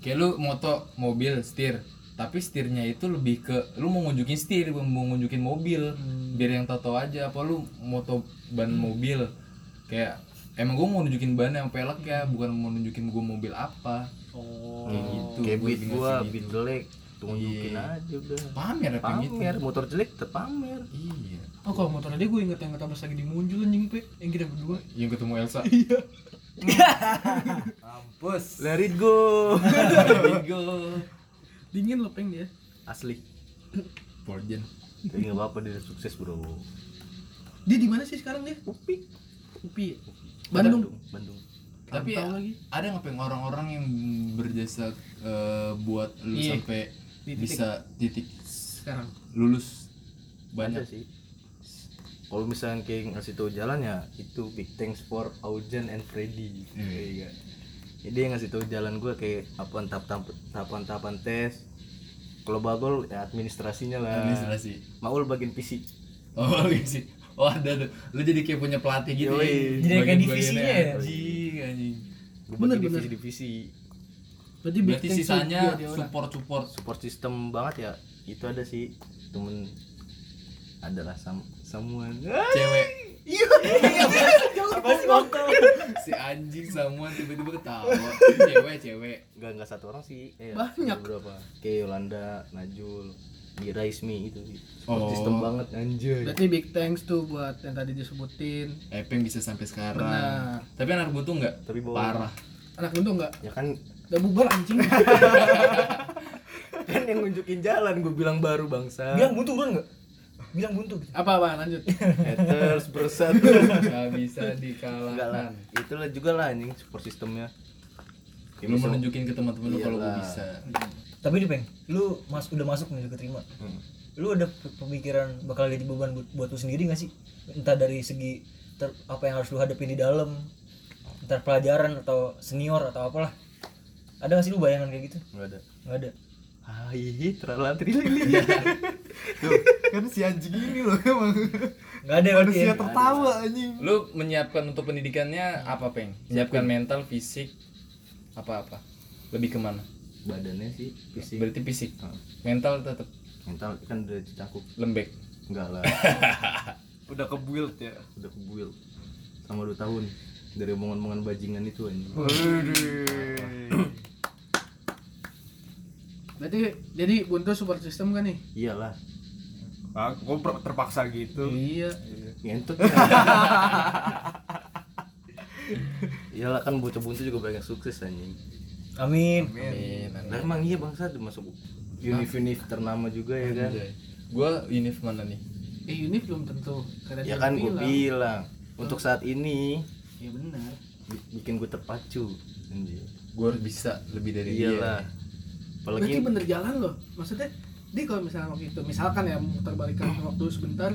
S2: Kayak lu moto mobil setir, tapi setirnya itu lebih ke lu mau ngunjukin setir, bukan mau ngunjukin mobil. Biar yang tahu aja apa lu moto ban mobil. Kayak emang gue mau nunjukin ban yang pelek ya, bukan mau nunjukin gue mobil apa. Oh. Kayak gitu.
S6: kayak
S2: gua
S6: beat
S2: lebih
S6: gua
S2: ngasih
S6: beat
S2: gitu.
S6: jelek tunjukin
S2: Iya.
S6: aja udah
S2: Pamer apa gitu.
S6: pamer motor jelek terpamer
S2: Iya.
S1: oh kalau motor aja gue inget yang kata pas lagi di muncul anjing pe yang kita berdua Iya.
S2: Yang ketemu Elsa.
S5: Mampus.
S6: let it go let it go
S1: dingin lo peng dia
S6: asli
S2: Borgen.
S6: tapi nggak apa-apa dia udah sukses bro
S1: dia di mana sih sekarang dia
S6: upi
S1: upi ya? Bandung
S6: Bandung
S2: Tapi
S1: Tahu lagi.
S2: ada nggak Peng, orang-orang yang berjasa eh, buat lu
S1: Iya.
S2: sampai
S1: Di titik.
S2: bisa titik
S1: sekarang
S2: lulus
S6: ada
S2: banyak
S6: sih kalau misalnya kayak ngasih tahu jalan ya itu big thanks for Aujan and Freddy
S2: Hmm.
S6: Iya. jadi yang ngasih tahu jalan gue kayak apa tahap tahapan tahapan tes kalau bagol ya administrasinya lah
S2: administrasi.
S6: Maul bagian fisik
S2: Oh iya sih. Oh ada tuh. Lu jadi kayak punya pelatih gitu
S3: Jadi kayak
S6: Yoi.
S2: Bagian-bagiannya
S3: divisinya ya?
S2: Anjing, anjing.
S6: gue bagi divisi divisi
S1: berarti, big
S2: Berarti
S1: thanks to
S2: sisanya
S1: dia, dia orang.
S2: support-support.
S6: support system banget ya itu ada sih temen adalah sam semua
S2: Cewek. Si anjing semua tiba-tiba ketawa. Cewek, cewek.
S6: nggak nggak satu orang sih eh,
S1: Banyak.
S6: berapa kayak Yolanda Najul Gira Ismi itu sih
S2: Oh.
S6: gitu. support system banget anjay
S1: berarti big thanks tuh buat yang tadi disebutin
S2: Epeng Eh, bisa sampai sekarang.
S1: Benar.
S2: Tapi anak butuh nggak?
S6: Tapi bawah.
S2: Parah.
S1: anak untung nggak
S6: ya kan
S1: udah bubar anjing
S6: kan yang nunjukin jalan gue bilang baru bangsa
S3: bilang buntu bukan nggak bilang buntu
S1: apa apa lanjut
S6: haters bersatu
S2: Gak bisa
S6: enggak lah
S2: dikalahkan.
S6: itulah juga lah anjing support systemnya Ya,
S2: Lu
S6: bisa-
S2: mau nunjukin ke teman-teman lu kalau gua
S6: Iyalah.
S2: bisa.
S3: tapi nih peng lu mas udah masuk nih udah keterima
S6: Hmm,
S3: lu ada pe- pemikiran bakal jadi beban buat, buat lu sendiri gak sih entah dari segi ter- apa yang harus lu hadapi di dalam entar pelajaran atau senior atau apalah ada gak sih lu bayangan kayak gitu
S6: nggak ada
S3: nggak ada
S6: Hai, terlalu trilili.
S5: kan si anjing ini loh emang.
S3: nggak ada berarti ya?
S5: Manusia tertawa anjing.
S2: Lu menyiapkan untuk pendidikannya apa, Peng? Menyiapkan mental, fisik, apa-apa? Lebih kemana?
S6: Badannya sih fisik, Ah.
S2: Berarti fisik. Mental tetap
S6: mental kan udah dicakup.
S2: lembek.
S6: Enggak lah,
S5: Udah kebuild ya.
S6: udah kebuil sama 2 tahun dari omongan-omongan bajingan itu anjing.
S1: Berarti jadi buntu support system kan nih?
S6: iyalah
S2: Ah, gua per- terpaksa gitu.
S1: Iya.
S6: ngentot iyalah kan bocah buntu juga banyak sukses anjing
S3: Amin.
S6: lah emang iya bangsa masuk univ univ ternama juga ya kan
S2: Nah. Anjay. Gua ini mana nih?
S1: Eh ini belum tentu. Karena
S6: ya kan gue bilang untuk saat ini
S1: Ya benar.
S6: bi- bikin gue terpacu anjing
S2: Gua harus bisa lebih dari
S6: iyalah
S2: dia.
S1: Berarti
S6: apalagi
S1: bener jalan loh. Maksudnya dia kalau misalnya waktu itu misalkan ya muter balikan waktu sebentar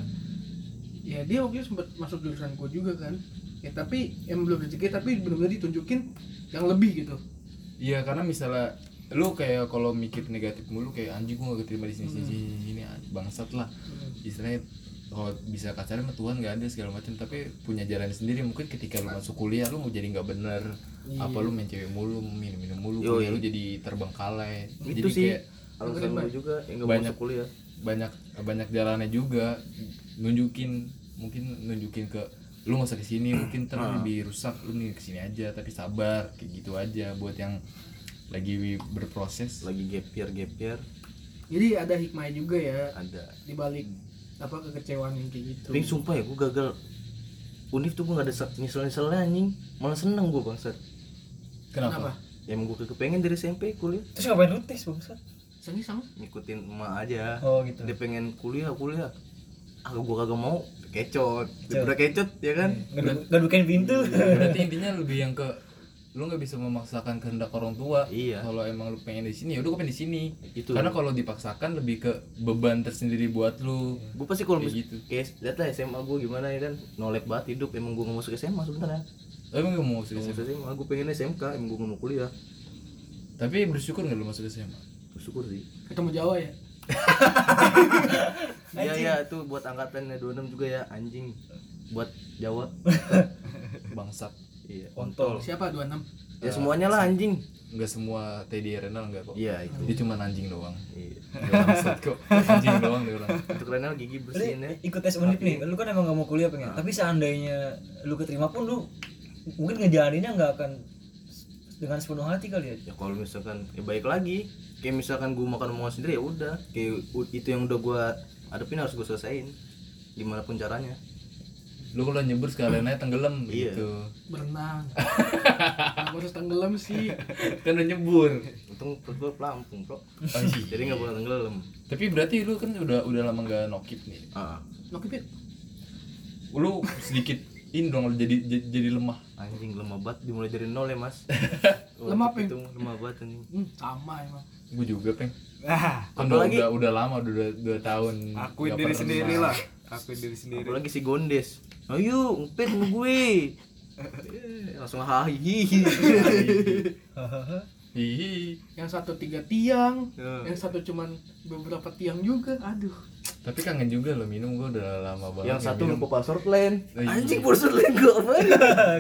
S1: ya dia waktu itu sempat masuk jurusan gua juga kan ya tapi yang belum rezeki tapi benar-benar ditunjukin yang lebih gitu
S2: Iya, karena misalnya lu kayak kalau mikir negatif mulu kayak anjing gua gak keterima di sini sini
S6: Hmm.
S2: sini, sini anjing, bangsat lah. Istilahnya kalau bisa kasarnya mah Tuhan gak ada segala macam tapi punya jalan sendiri mungkin ketika lu masuk kuliah lu mau jadi nggak bener
S6: Iya.
S2: apa lu main cewek mulu minum minum mulu
S6: Yoi.
S2: kuliah lu jadi terbengkalai
S6: itu
S2: jadi
S6: gitu sih
S2: kayak
S6: alasan gue juga yang gak
S2: Banyak.
S6: masuk kuliah
S2: banyak banyak jalannya juga nunjukin mungkin nunjukin ke lu nggak usah kesini mungkin ntar
S6: Ah.
S2: lu lebih rusak lu nih kesini aja tapi sabar kayak gitu aja buat yang lagi berproses
S6: lagi gap year gap year
S1: jadi ada hikmah juga ya
S6: ada
S1: dibalik apa kekecewaan yang kayak gitu
S6: tapi sumpah ya gue gagal univ tuh gue gak ada se- nyesel-nyeselnya anjing malah seneng gue bangsat
S1: Kenapa?
S2: kenapa,
S6: ya emang gue kepengen dari SMP kuliah
S3: Terus ngapain lu tes bangsat?
S1: Sangi sama
S6: ngikutin emak aja
S3: Oh, gitu.
S6: dia pengen kuliah kuliah ah gue kagak mau kecot udah kecot ya kan
S3: Iya. Gadukin pintu.
S2: berarti intinya lebih yang ke lu nggak bisa memaksakan kehendak orang tua
S6: Iya.
S2: kalau emang lu pengen di sini ya udah gue pengen di sini
S6: Itu.
S2: karena kalau dipaksakan lebih ke beban tersendiri buat lu
S6: gue pasti kalau
S2: Kayak
S6: mis-
S2: gitu.
S6: kayak lihat lah SMA gue gimana ya kan nolep banget hidup emang gue gak masuk SMA sebenarnya
S2: emang gak mau masuk
S6: Gak
S2: SMA
S6: masuk SMA gue pengen SMK emang gue gak mau kuliah
S2: tapi bersyukur nggak lu masuk SMA
S6: bersyukur sih
S1: ketemu Jawa ya
S6: iya iya tuh buat angkatannya 26 juga ya anjing buat Jawa
S2: bangsat
S6: iya
S3: Kontol.
S1: siapa 26
S6: ya semuanya lah anjing
S2: nggak semua Teddy Renal nggak kok
S6: iya itu
S2: dia cuma anjing doang
S6: iya
S2: Bangsat kok anjing doang dia orang
S6: untuk Renal gigi bersihin ya
S3: ikut tes univ nih lu kan emang gak mau kuliah pengen tapi seandainya lu keterima pun lu mungkin ngejalaninnya nggak akan s- dengan sepenuh hati kali ya
S6: ya kalau misalkan ya baik lagi kayak misalkan gue makan omongan sendiri ya udah kayak u- itu yang udah gue hadapin harus gue selesain gimana pun caranya
S2: lu kalau nyebur sekalian aja tenggelam
S6: Iya.
S2: gitu
S1: berenang aku harus tenggelam sih
S2: kan udah nyebur
S6: untung perut gue pelampung bro
S2: Oh, iya.
S6: jadi nggak boleh tenggelam
S2: tapi berarti lu kan udah udah lama nggak nokip nih
S6: ah
S1: nokipit
S2: lu sedikit ini dong lu jadi jadi, jadi lemah
S6: anjing lemah banget dimulai dari nol ya mas
S1: Lemah, Ping.
S6: itu lemah banget anjing
S1: hmm, sama emang
S2: gue juga peng
S5: Ah,
S2: kan udah,
S6: Apalagi-
S2: udah udah lama udah dua, dua tahun
S5: akuin
S2: nggak
S5: diri
S2: pernah
S5: sendiri
S2: lemah.
S5: lah. Akuin diri sendiri.
S6: apalagi si Gondes ayo ngepet sama gue Eh, langsung hahihi
S2: Hihi.
S1: yang satu tiga tiang
S6: Ya.
S1: yang satu cuman beberapa tiang juga aduh
S2: tapi kangen juga lo minum gue udah lama banget
S6: yang
S2: nggak
S6: satu
S2: minum.
S6: lupa password lain
S2: Iya.
S6: anjing password lain gue apa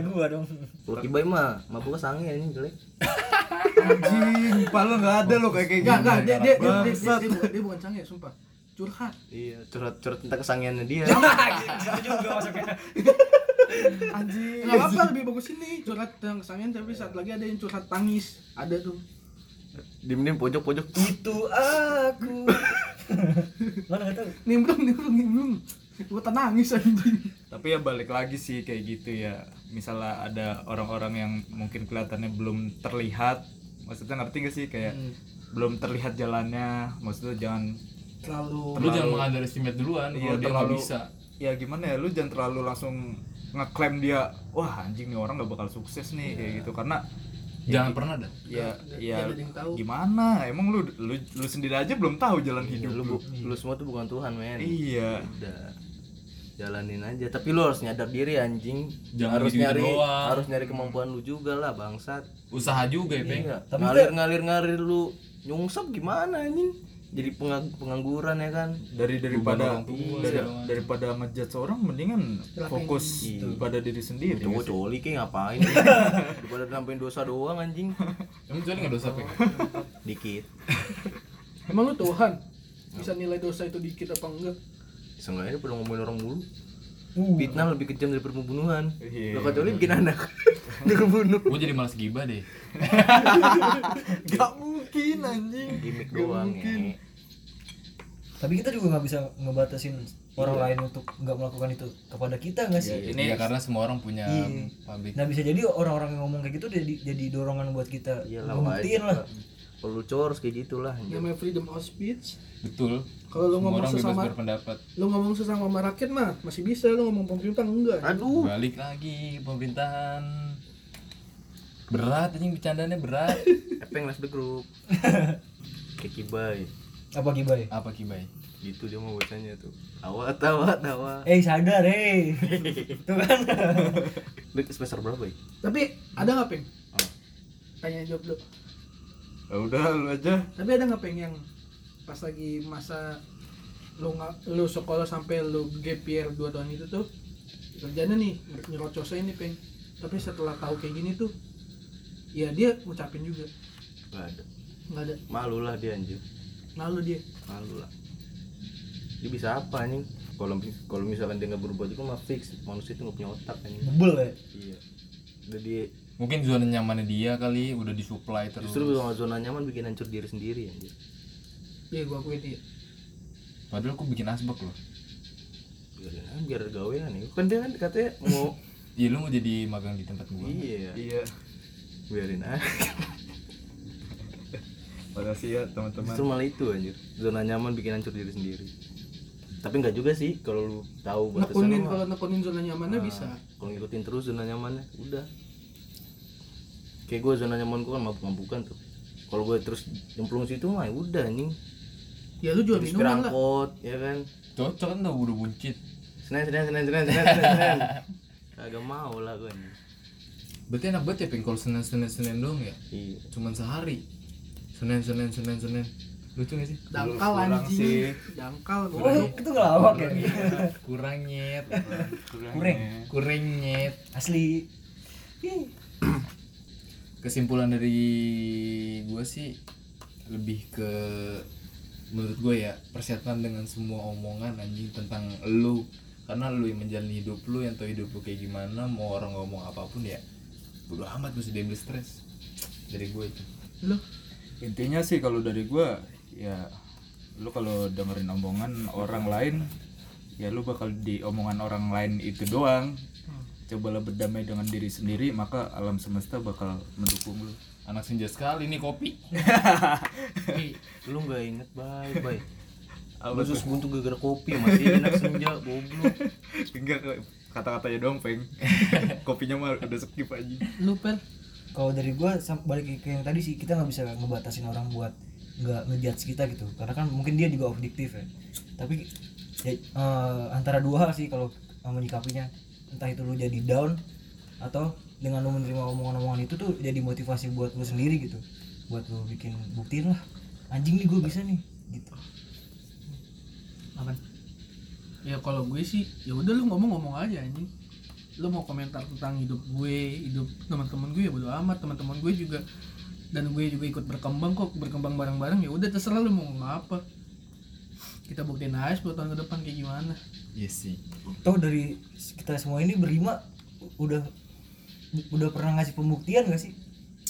S3: gua dong
S6: Kalau kibai mah, mabuknya sange anjing jelek.
S5: Anjing, pala nggak ada lo kayak kayak
S1: enggak enggak dia dia dia, dia, dia,
S5: Eh, Bangsat.
S1: dia, bukan- dia bukan canggih sumpah curhat
S6: Iya, curhat-curhat tentang kesangiannya dia.
S3: Iya. Nah, gitu
S5: Anjing.
S1: nggak apa lebih bagus ini curhat tentang kesangian tapi saat lagi ada yang curhat tangis ada tuh
S6: Diem-diem pojok-pojok.
S3: itu aku mana nggak tahu
S1: nimbrung nimbrung nimbrung gua tenangis anjing
S5: Tapi ya balik lagi sih kayak gitu ya. Misalnya ada orang-orang yang mungkin kelihatannya belum terlihat, maksudnya ngerti gak sih kayak
S1: Hmm.
S5: belum terlihat jalannya, maksudnya jangan
S1: terlalu
S2: lu jangan mengunderestimate duluan
S5: Iya,
S2: kalau dia nggak
S5: terlalu-
S2: bisa
S5: ya gimana ya lu jangan terlalu langsung ngeklaim dia wah anjing nih orang gak bakal sukses nih kayak gitu karena
S2: jangan pernah dah
S5: ya ya
S1: Iya. ada yang tahu.
S5: gimana emang lu, lu lu sendiri aja belum tahu jalan
S1: Iya,
S5: hidup
S6: Lu,
S5: lu
S6: bu- lu semua tuh bukan Tuhan, men.
S5: iya
S6: Udah jalanin aja tapi lu harus nyadar diri anjing
S2: Jangan
S6: harus
S2: gitu
S6: nyari
S2: doang.
S6: harus nyari kemampuan lu juga lah bangsat
S2: usaha juga ya peng
S6: Iya, ngalir ngalir ngalir lu nyungsep gimana anjing jadi pengang- pengangguran ya kan
S5: dari daripada
S2: orang tua,
S5: dari-
S2: segala macam.
S5: daripada ngejat seorang mendingan fokus pada diri sendiri
S6: cowok coli kayak ngapain daripada nambahin dosa doang anjing
S2: emang kecuali nggak dosa peng
S6: dikit
S1: emang lu Tuhan bisa nilai dosa itu dikit apa enggak
S6: Seenggaknya perlu ngomongin orang mulu Fitnah lebih kejam dari pembunuhan
S5: Iya.
S6: Lo kecuali bikin anak Dibunuh
S2: gue jadi malas gibah deh
S5: gak mungkin mungkin anjing
S6: gimmick doang ya
S3: tapi kita juga nggak bisa ngebatasin orang lain untuk nggak melakukan itu kepada kita nggak sih
S2: ini ya karena semua orang punya
S3: Iya.
S2: pabrik
S3: nah bisa jadi orang-orang yang ngomong kayak gitu jadi jadi dorongan buat kita
S6: iyalah
S3: ngebuktiin lah
S6: Iya lah perlu cors kayak gitulah anjing.
S1: namanya freedom of speech
S2: betul
S1: kalau lu
S2: semua
S1: ngomong
S2: orang bebas
S1: sesama
S2: berpendapat
S1: lu ngomong sesama sama rakyat mah masih bisa lu ngomong pemerintah enggak
S6: aduh
S2: balik lagi pemerintahan berat anjing bercandanya berat
S6: Epeng last the group kayak kibai
S3: apa gibay
S2: apa kibai
S6: gitu dia mau bacanya tuh awat awat awat
S3: eh sadar eh tuh kan
S6: lu semester berapa ya
S1: tapi ada nggak peng
S6: Apa?
S1: tanya jawab dulu
S5: ya udah lu aja
S1: tapi ada nggak peng yang pas lagi masa lu nggak lu sekolah sampai lu gap year dua tahun itu tuh kerjanya nih nyerocosnya ini peng tapi setelah tahu kayak gini tuh ya dia ngucapin juga
S6: gak ada
S1: nggak ada
S6: malu lah dia anjir
S1: malu dia
S6: malu lah dia bisa apa anjing kalau kalau misalkan dia nggak berubah juga mah fix manusia itu nggak punya otak anjing
S3: bebel ya
S6: iya udah dia
S2: mungkin zona nyamannya dia kali udah disuplai terus
S6: justru zona zona nyaman bikin hancur diri sendiri anjir
S1: iya gua akuin dia
S2: padahal aku bikin asbak loh
S6: biar biar gawean ya kan dia kan katanya mau
S2: iya lu mau jadi magang di tempat gua
S6: iya
S5: iya
S6: biarin aja
S5: makasih ya teman-teman
S6: justru malah itu anjir zona nyaman bikin hancur diri sendiri tapi nggak juga sih kalau lu tahu
S1: nekunin
S6: batasan
S1: Nah, kalau nekunin zona
S6: Ah.
S1: nyamannya bisa
S6: kalau ngikutin terus zona nyamannya udah kayak gue zona nyaman gue kan mabuk mabukan tuh kalau gue terus nyemplung situ mah ya udah anjing
S1: ya lu jual
S6: terus
S1: minuman lah
S6: perangkot ya kan
S2: cocok kan udah udah buncit
S6: senen senen senen senen senen senen senen agak mau lah gue anjing
S2: berarti enak banget ya peng kalau senin senin senin doang ya
S6: iya
S2: cuman sehari senin senin senin senin lucu gak sih
S1: dangkal
S5: Kurang sih.
S1: anjing dangkal
S3: oh
S1: gua
S3: itu ngelawak ya
S2: kurang nyet
S3: kurang
S2: kurang nyet
S3: asli
S2: kesimpulan dari gue sih lebih ke menurut gue ya persiapkan dengan semua omongan anjing tentang lu karena lu yang menjalani hidup lu yang tau hidup lu kayak gimana mau orang ngomong apapun ya bodo amat mesti diambil stres dari gue itu
S1: lu
S5: intinya sih kalau dari gua ya lu kalau dengerin omongan orang lain ya lu bakal di omongan orang lain itu doang cobalah berdamai dengan diri sendiri maka alam semesta bakal mendukung lu
S2: anak senja sekali nih kopi
S6: lu nggak inget baik baik Lu terus buntu gara-gara kopi mati enak senja goblok
S5: enggak kata-katanya doang peng kopinya mah udah skip aja
S1: lu per
S3: kalau dari gua sam- balik ke- ke yang tadi sih kita nggak bisa ngebatasin orang buat nggak ngejudge kita gitu karena kan mungkin dia juga objektif ya tapi ya, eh, antara dua hal sih kalau eh, menyikapinya entah itu lu jadi down atau dengan lu menerima omongan-omongan itu tuh jadi motivasi buat lu sendiri gitu buat lu bikin buktiin lah anjing nih gua bisa nih gitu
S1: apa ya kalau gue sih ya udah lu ngomong-ngomong aja anjing lu mau komentar tentang hidup gue hidup teman-teman gue ya bodo amat teman-teman gue juga dan gue juga ikut berkembang kok berkembang bareng-bareng ya udah terserah lu mau ngomong apa kita buktiin aja 10 tahun ke depan kayak gimana
S2: yes sih
S3: toh dari kita semua ini berlima u- udah udah pernah ngasih pembuktian gak sih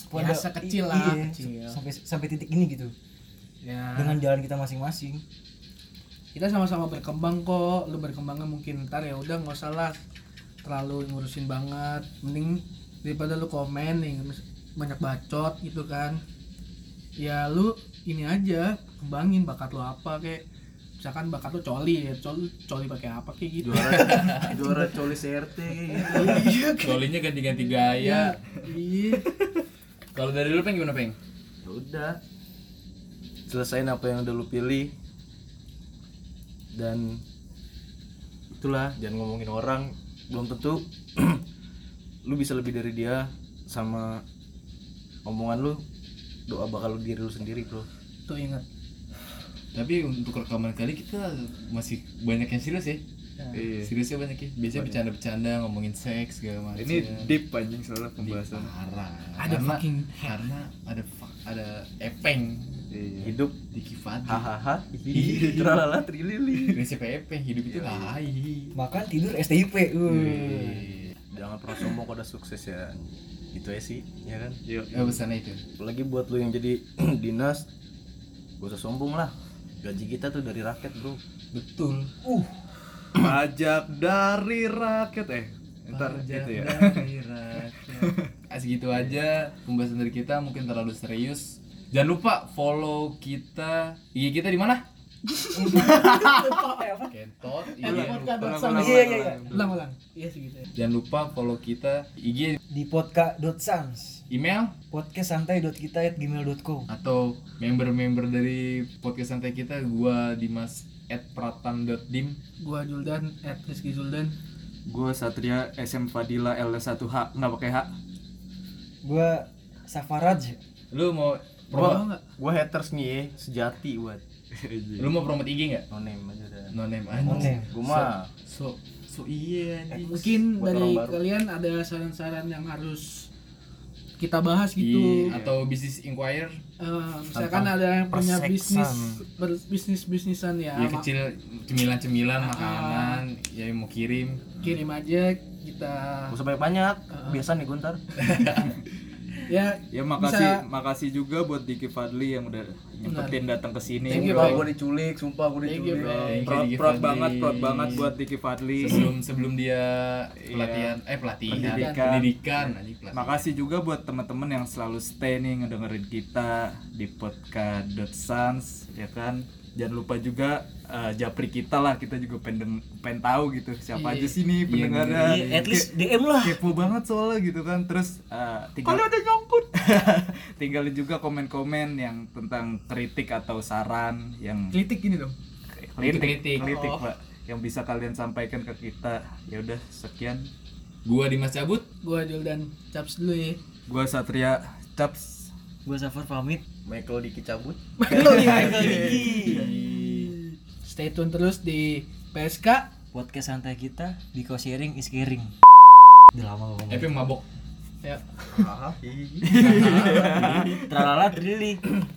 S1: Ya, sekecil lah,
S3: iya,
S1: kecil.
S3: sampai sampai titik ini gitu
S1: ya
S3: dengan jalan kita masing-masing
S1: kita sama-sama berkembang kok lu berkembangnya mungkin ntar ya udah nggak usah lah terlalu ngurusin banget mending daripada lu komen nih banyak bacot gitu kan ya lu ini aja kembangin bakat lu apa kayak misalkan bakat lu coli ya coli coli pakai apa kayak gitu
S6: juara
S4: ya.
S6: juara colis RT kayak gitu.
S1: iya
S2: solinya ganti-ganti gaya
S1: iya
S2: kalau dari lu peng gimana peng
S6: ya udah selesain apa yang udah lu pilih dan itulah jangan ngomongin orang belum tentu lu bisa lebih dari dia sama omongan lu doa bakal lu diri lu sendiri bro
S1: tuh ingat
S2: tapi untuk rekaman kali kita masih banyak yang serius ya
S5: Iya.
S2: seriusnya banyak ya biasanya bercanda-bercanda ngomongin seks segala macam
S5: ini deep anjing soalnya pembahasan
S2: parah
S1: Ada
S2: karena,
S1: fucking-
S2: karena ada fuck- ada epeng
S5: iya
S6: hidup
S2: di kifadi
S6: hahaha hihi, tralala trilili
S2: prinsip epeng hidup itu
S5: Iya,
S2: lahai
S3: makan tidur STIP uh.
S2: Iya.
S1: Hmm.
S6: jangan pernah sombong kalau udah sukses ya itu aja sih ya kan
S5: Iya.
S2: Eh, pesannya itu.
S6: apalagi buat lu yang jadi dinas gak usah sombong lah gaji kita tuh dari rakyat bro
S1: betul
S4: Pajak dari rakyat eh. Ntar gitu ya.
S1: Eh,
S2: Asik gitu aja pembahasan dari kita mungkin terlalu serius. Jangan lupa follow kita. IG kita di mana? Kentot. IG.
S1: iya iya iya ulang ulang iya segitu ya.
S2: Jangan lupa follow kita IG
S3: di podka.sans
S2: email
S3: podcast santai kita at gmail.com
S2: atau member-member dari podcast santai kita gua Dimas at pratam.dim
S1: gua Juldan at Rizky Juldan
S5: Gue Satria SM Fadila L1H nggak pakai H.
S3: gua Safaraj
S2: lu mau
S1: Promo
S6: gua,
S1: nggak?
S6: gua haters nih ya sejati buat
S2: lu mau promote IG nggak
S6: no name aja udah
S2: no name
S3: No
S2: anjing
S3: name.
S6: gua mah
S2: so so iya
S1: Eh,
S2: anjing
S1: mungkin
S6: Buat
S1: dari
S6: orang baru.
S1: kalian ada saran-saran yang harus kita bahas
S2: Di-
S1: gitu
S2: Iya, atau bisnis inquire
S1: Eh, misalkan ada yang punya
S3: perseksan.
S1: bisnis berbisnis bisnisan ya,
S2: ya
S1: ma-
S2: kecil cemilan-cemilan makanan ya yang mau kirim
S1: kirim aja kita
S6: gak usah banyak banyak biasa nih guntar
S1: ya
S5: Ya makasih
S1: Bisa.
S5: makasih juga buat Diki Fadli yang udah nyempetin datang ke
S1: Thank
S5: sini.
S1: you,
S6: sumpah
S1: Bro.
S6: gua diculik sumpah gua
S1: Thank you,
S6: diculik
S1: bro.
S2: Thank you,
S5: Proud,
S2: Diki
S5: proud
S2: Fadli.
S5: banget, proud banget buat Diki Fadli.
S2: sebelum sebelum dia pelatihan eh pelatihan
S5: Pendidikan.
S2: pendidikan anjing pelatihan
S5: Makasih juga buat teman-teman yang selalu stay nih ngedengerin kita di podcast.sans ya kan. Jangan lupa juga eh, japri kita lah, kita juga pendeng pengen tahu gitu siapa aja sih nih pendengarnya.
S3: at least DM lah
S5: kepo banget soalnya gitu kan terus eh, tinggal kalau ada nyangkut tinggalin juga komen-komen yang tentang kritik atau saran yang
S1: kritik gini dong
S5: kritik
S2: Kritik.
S5: kritik, pak yang bisa kalian sampaikan ke kita ya udah sekian
S2: gua Dimas cabut
S1: gua Juldan caps dulu ya
S5: gua Satria Caps
S3: gua Safar pamit
S6: Michael Diki cabut
S1: stay tune terus di PSK
S3: podcast santai kita because sharing is caring udah lama gua ngomong
S2: eh mabok
S1: ya
S3: Ah, tralala trili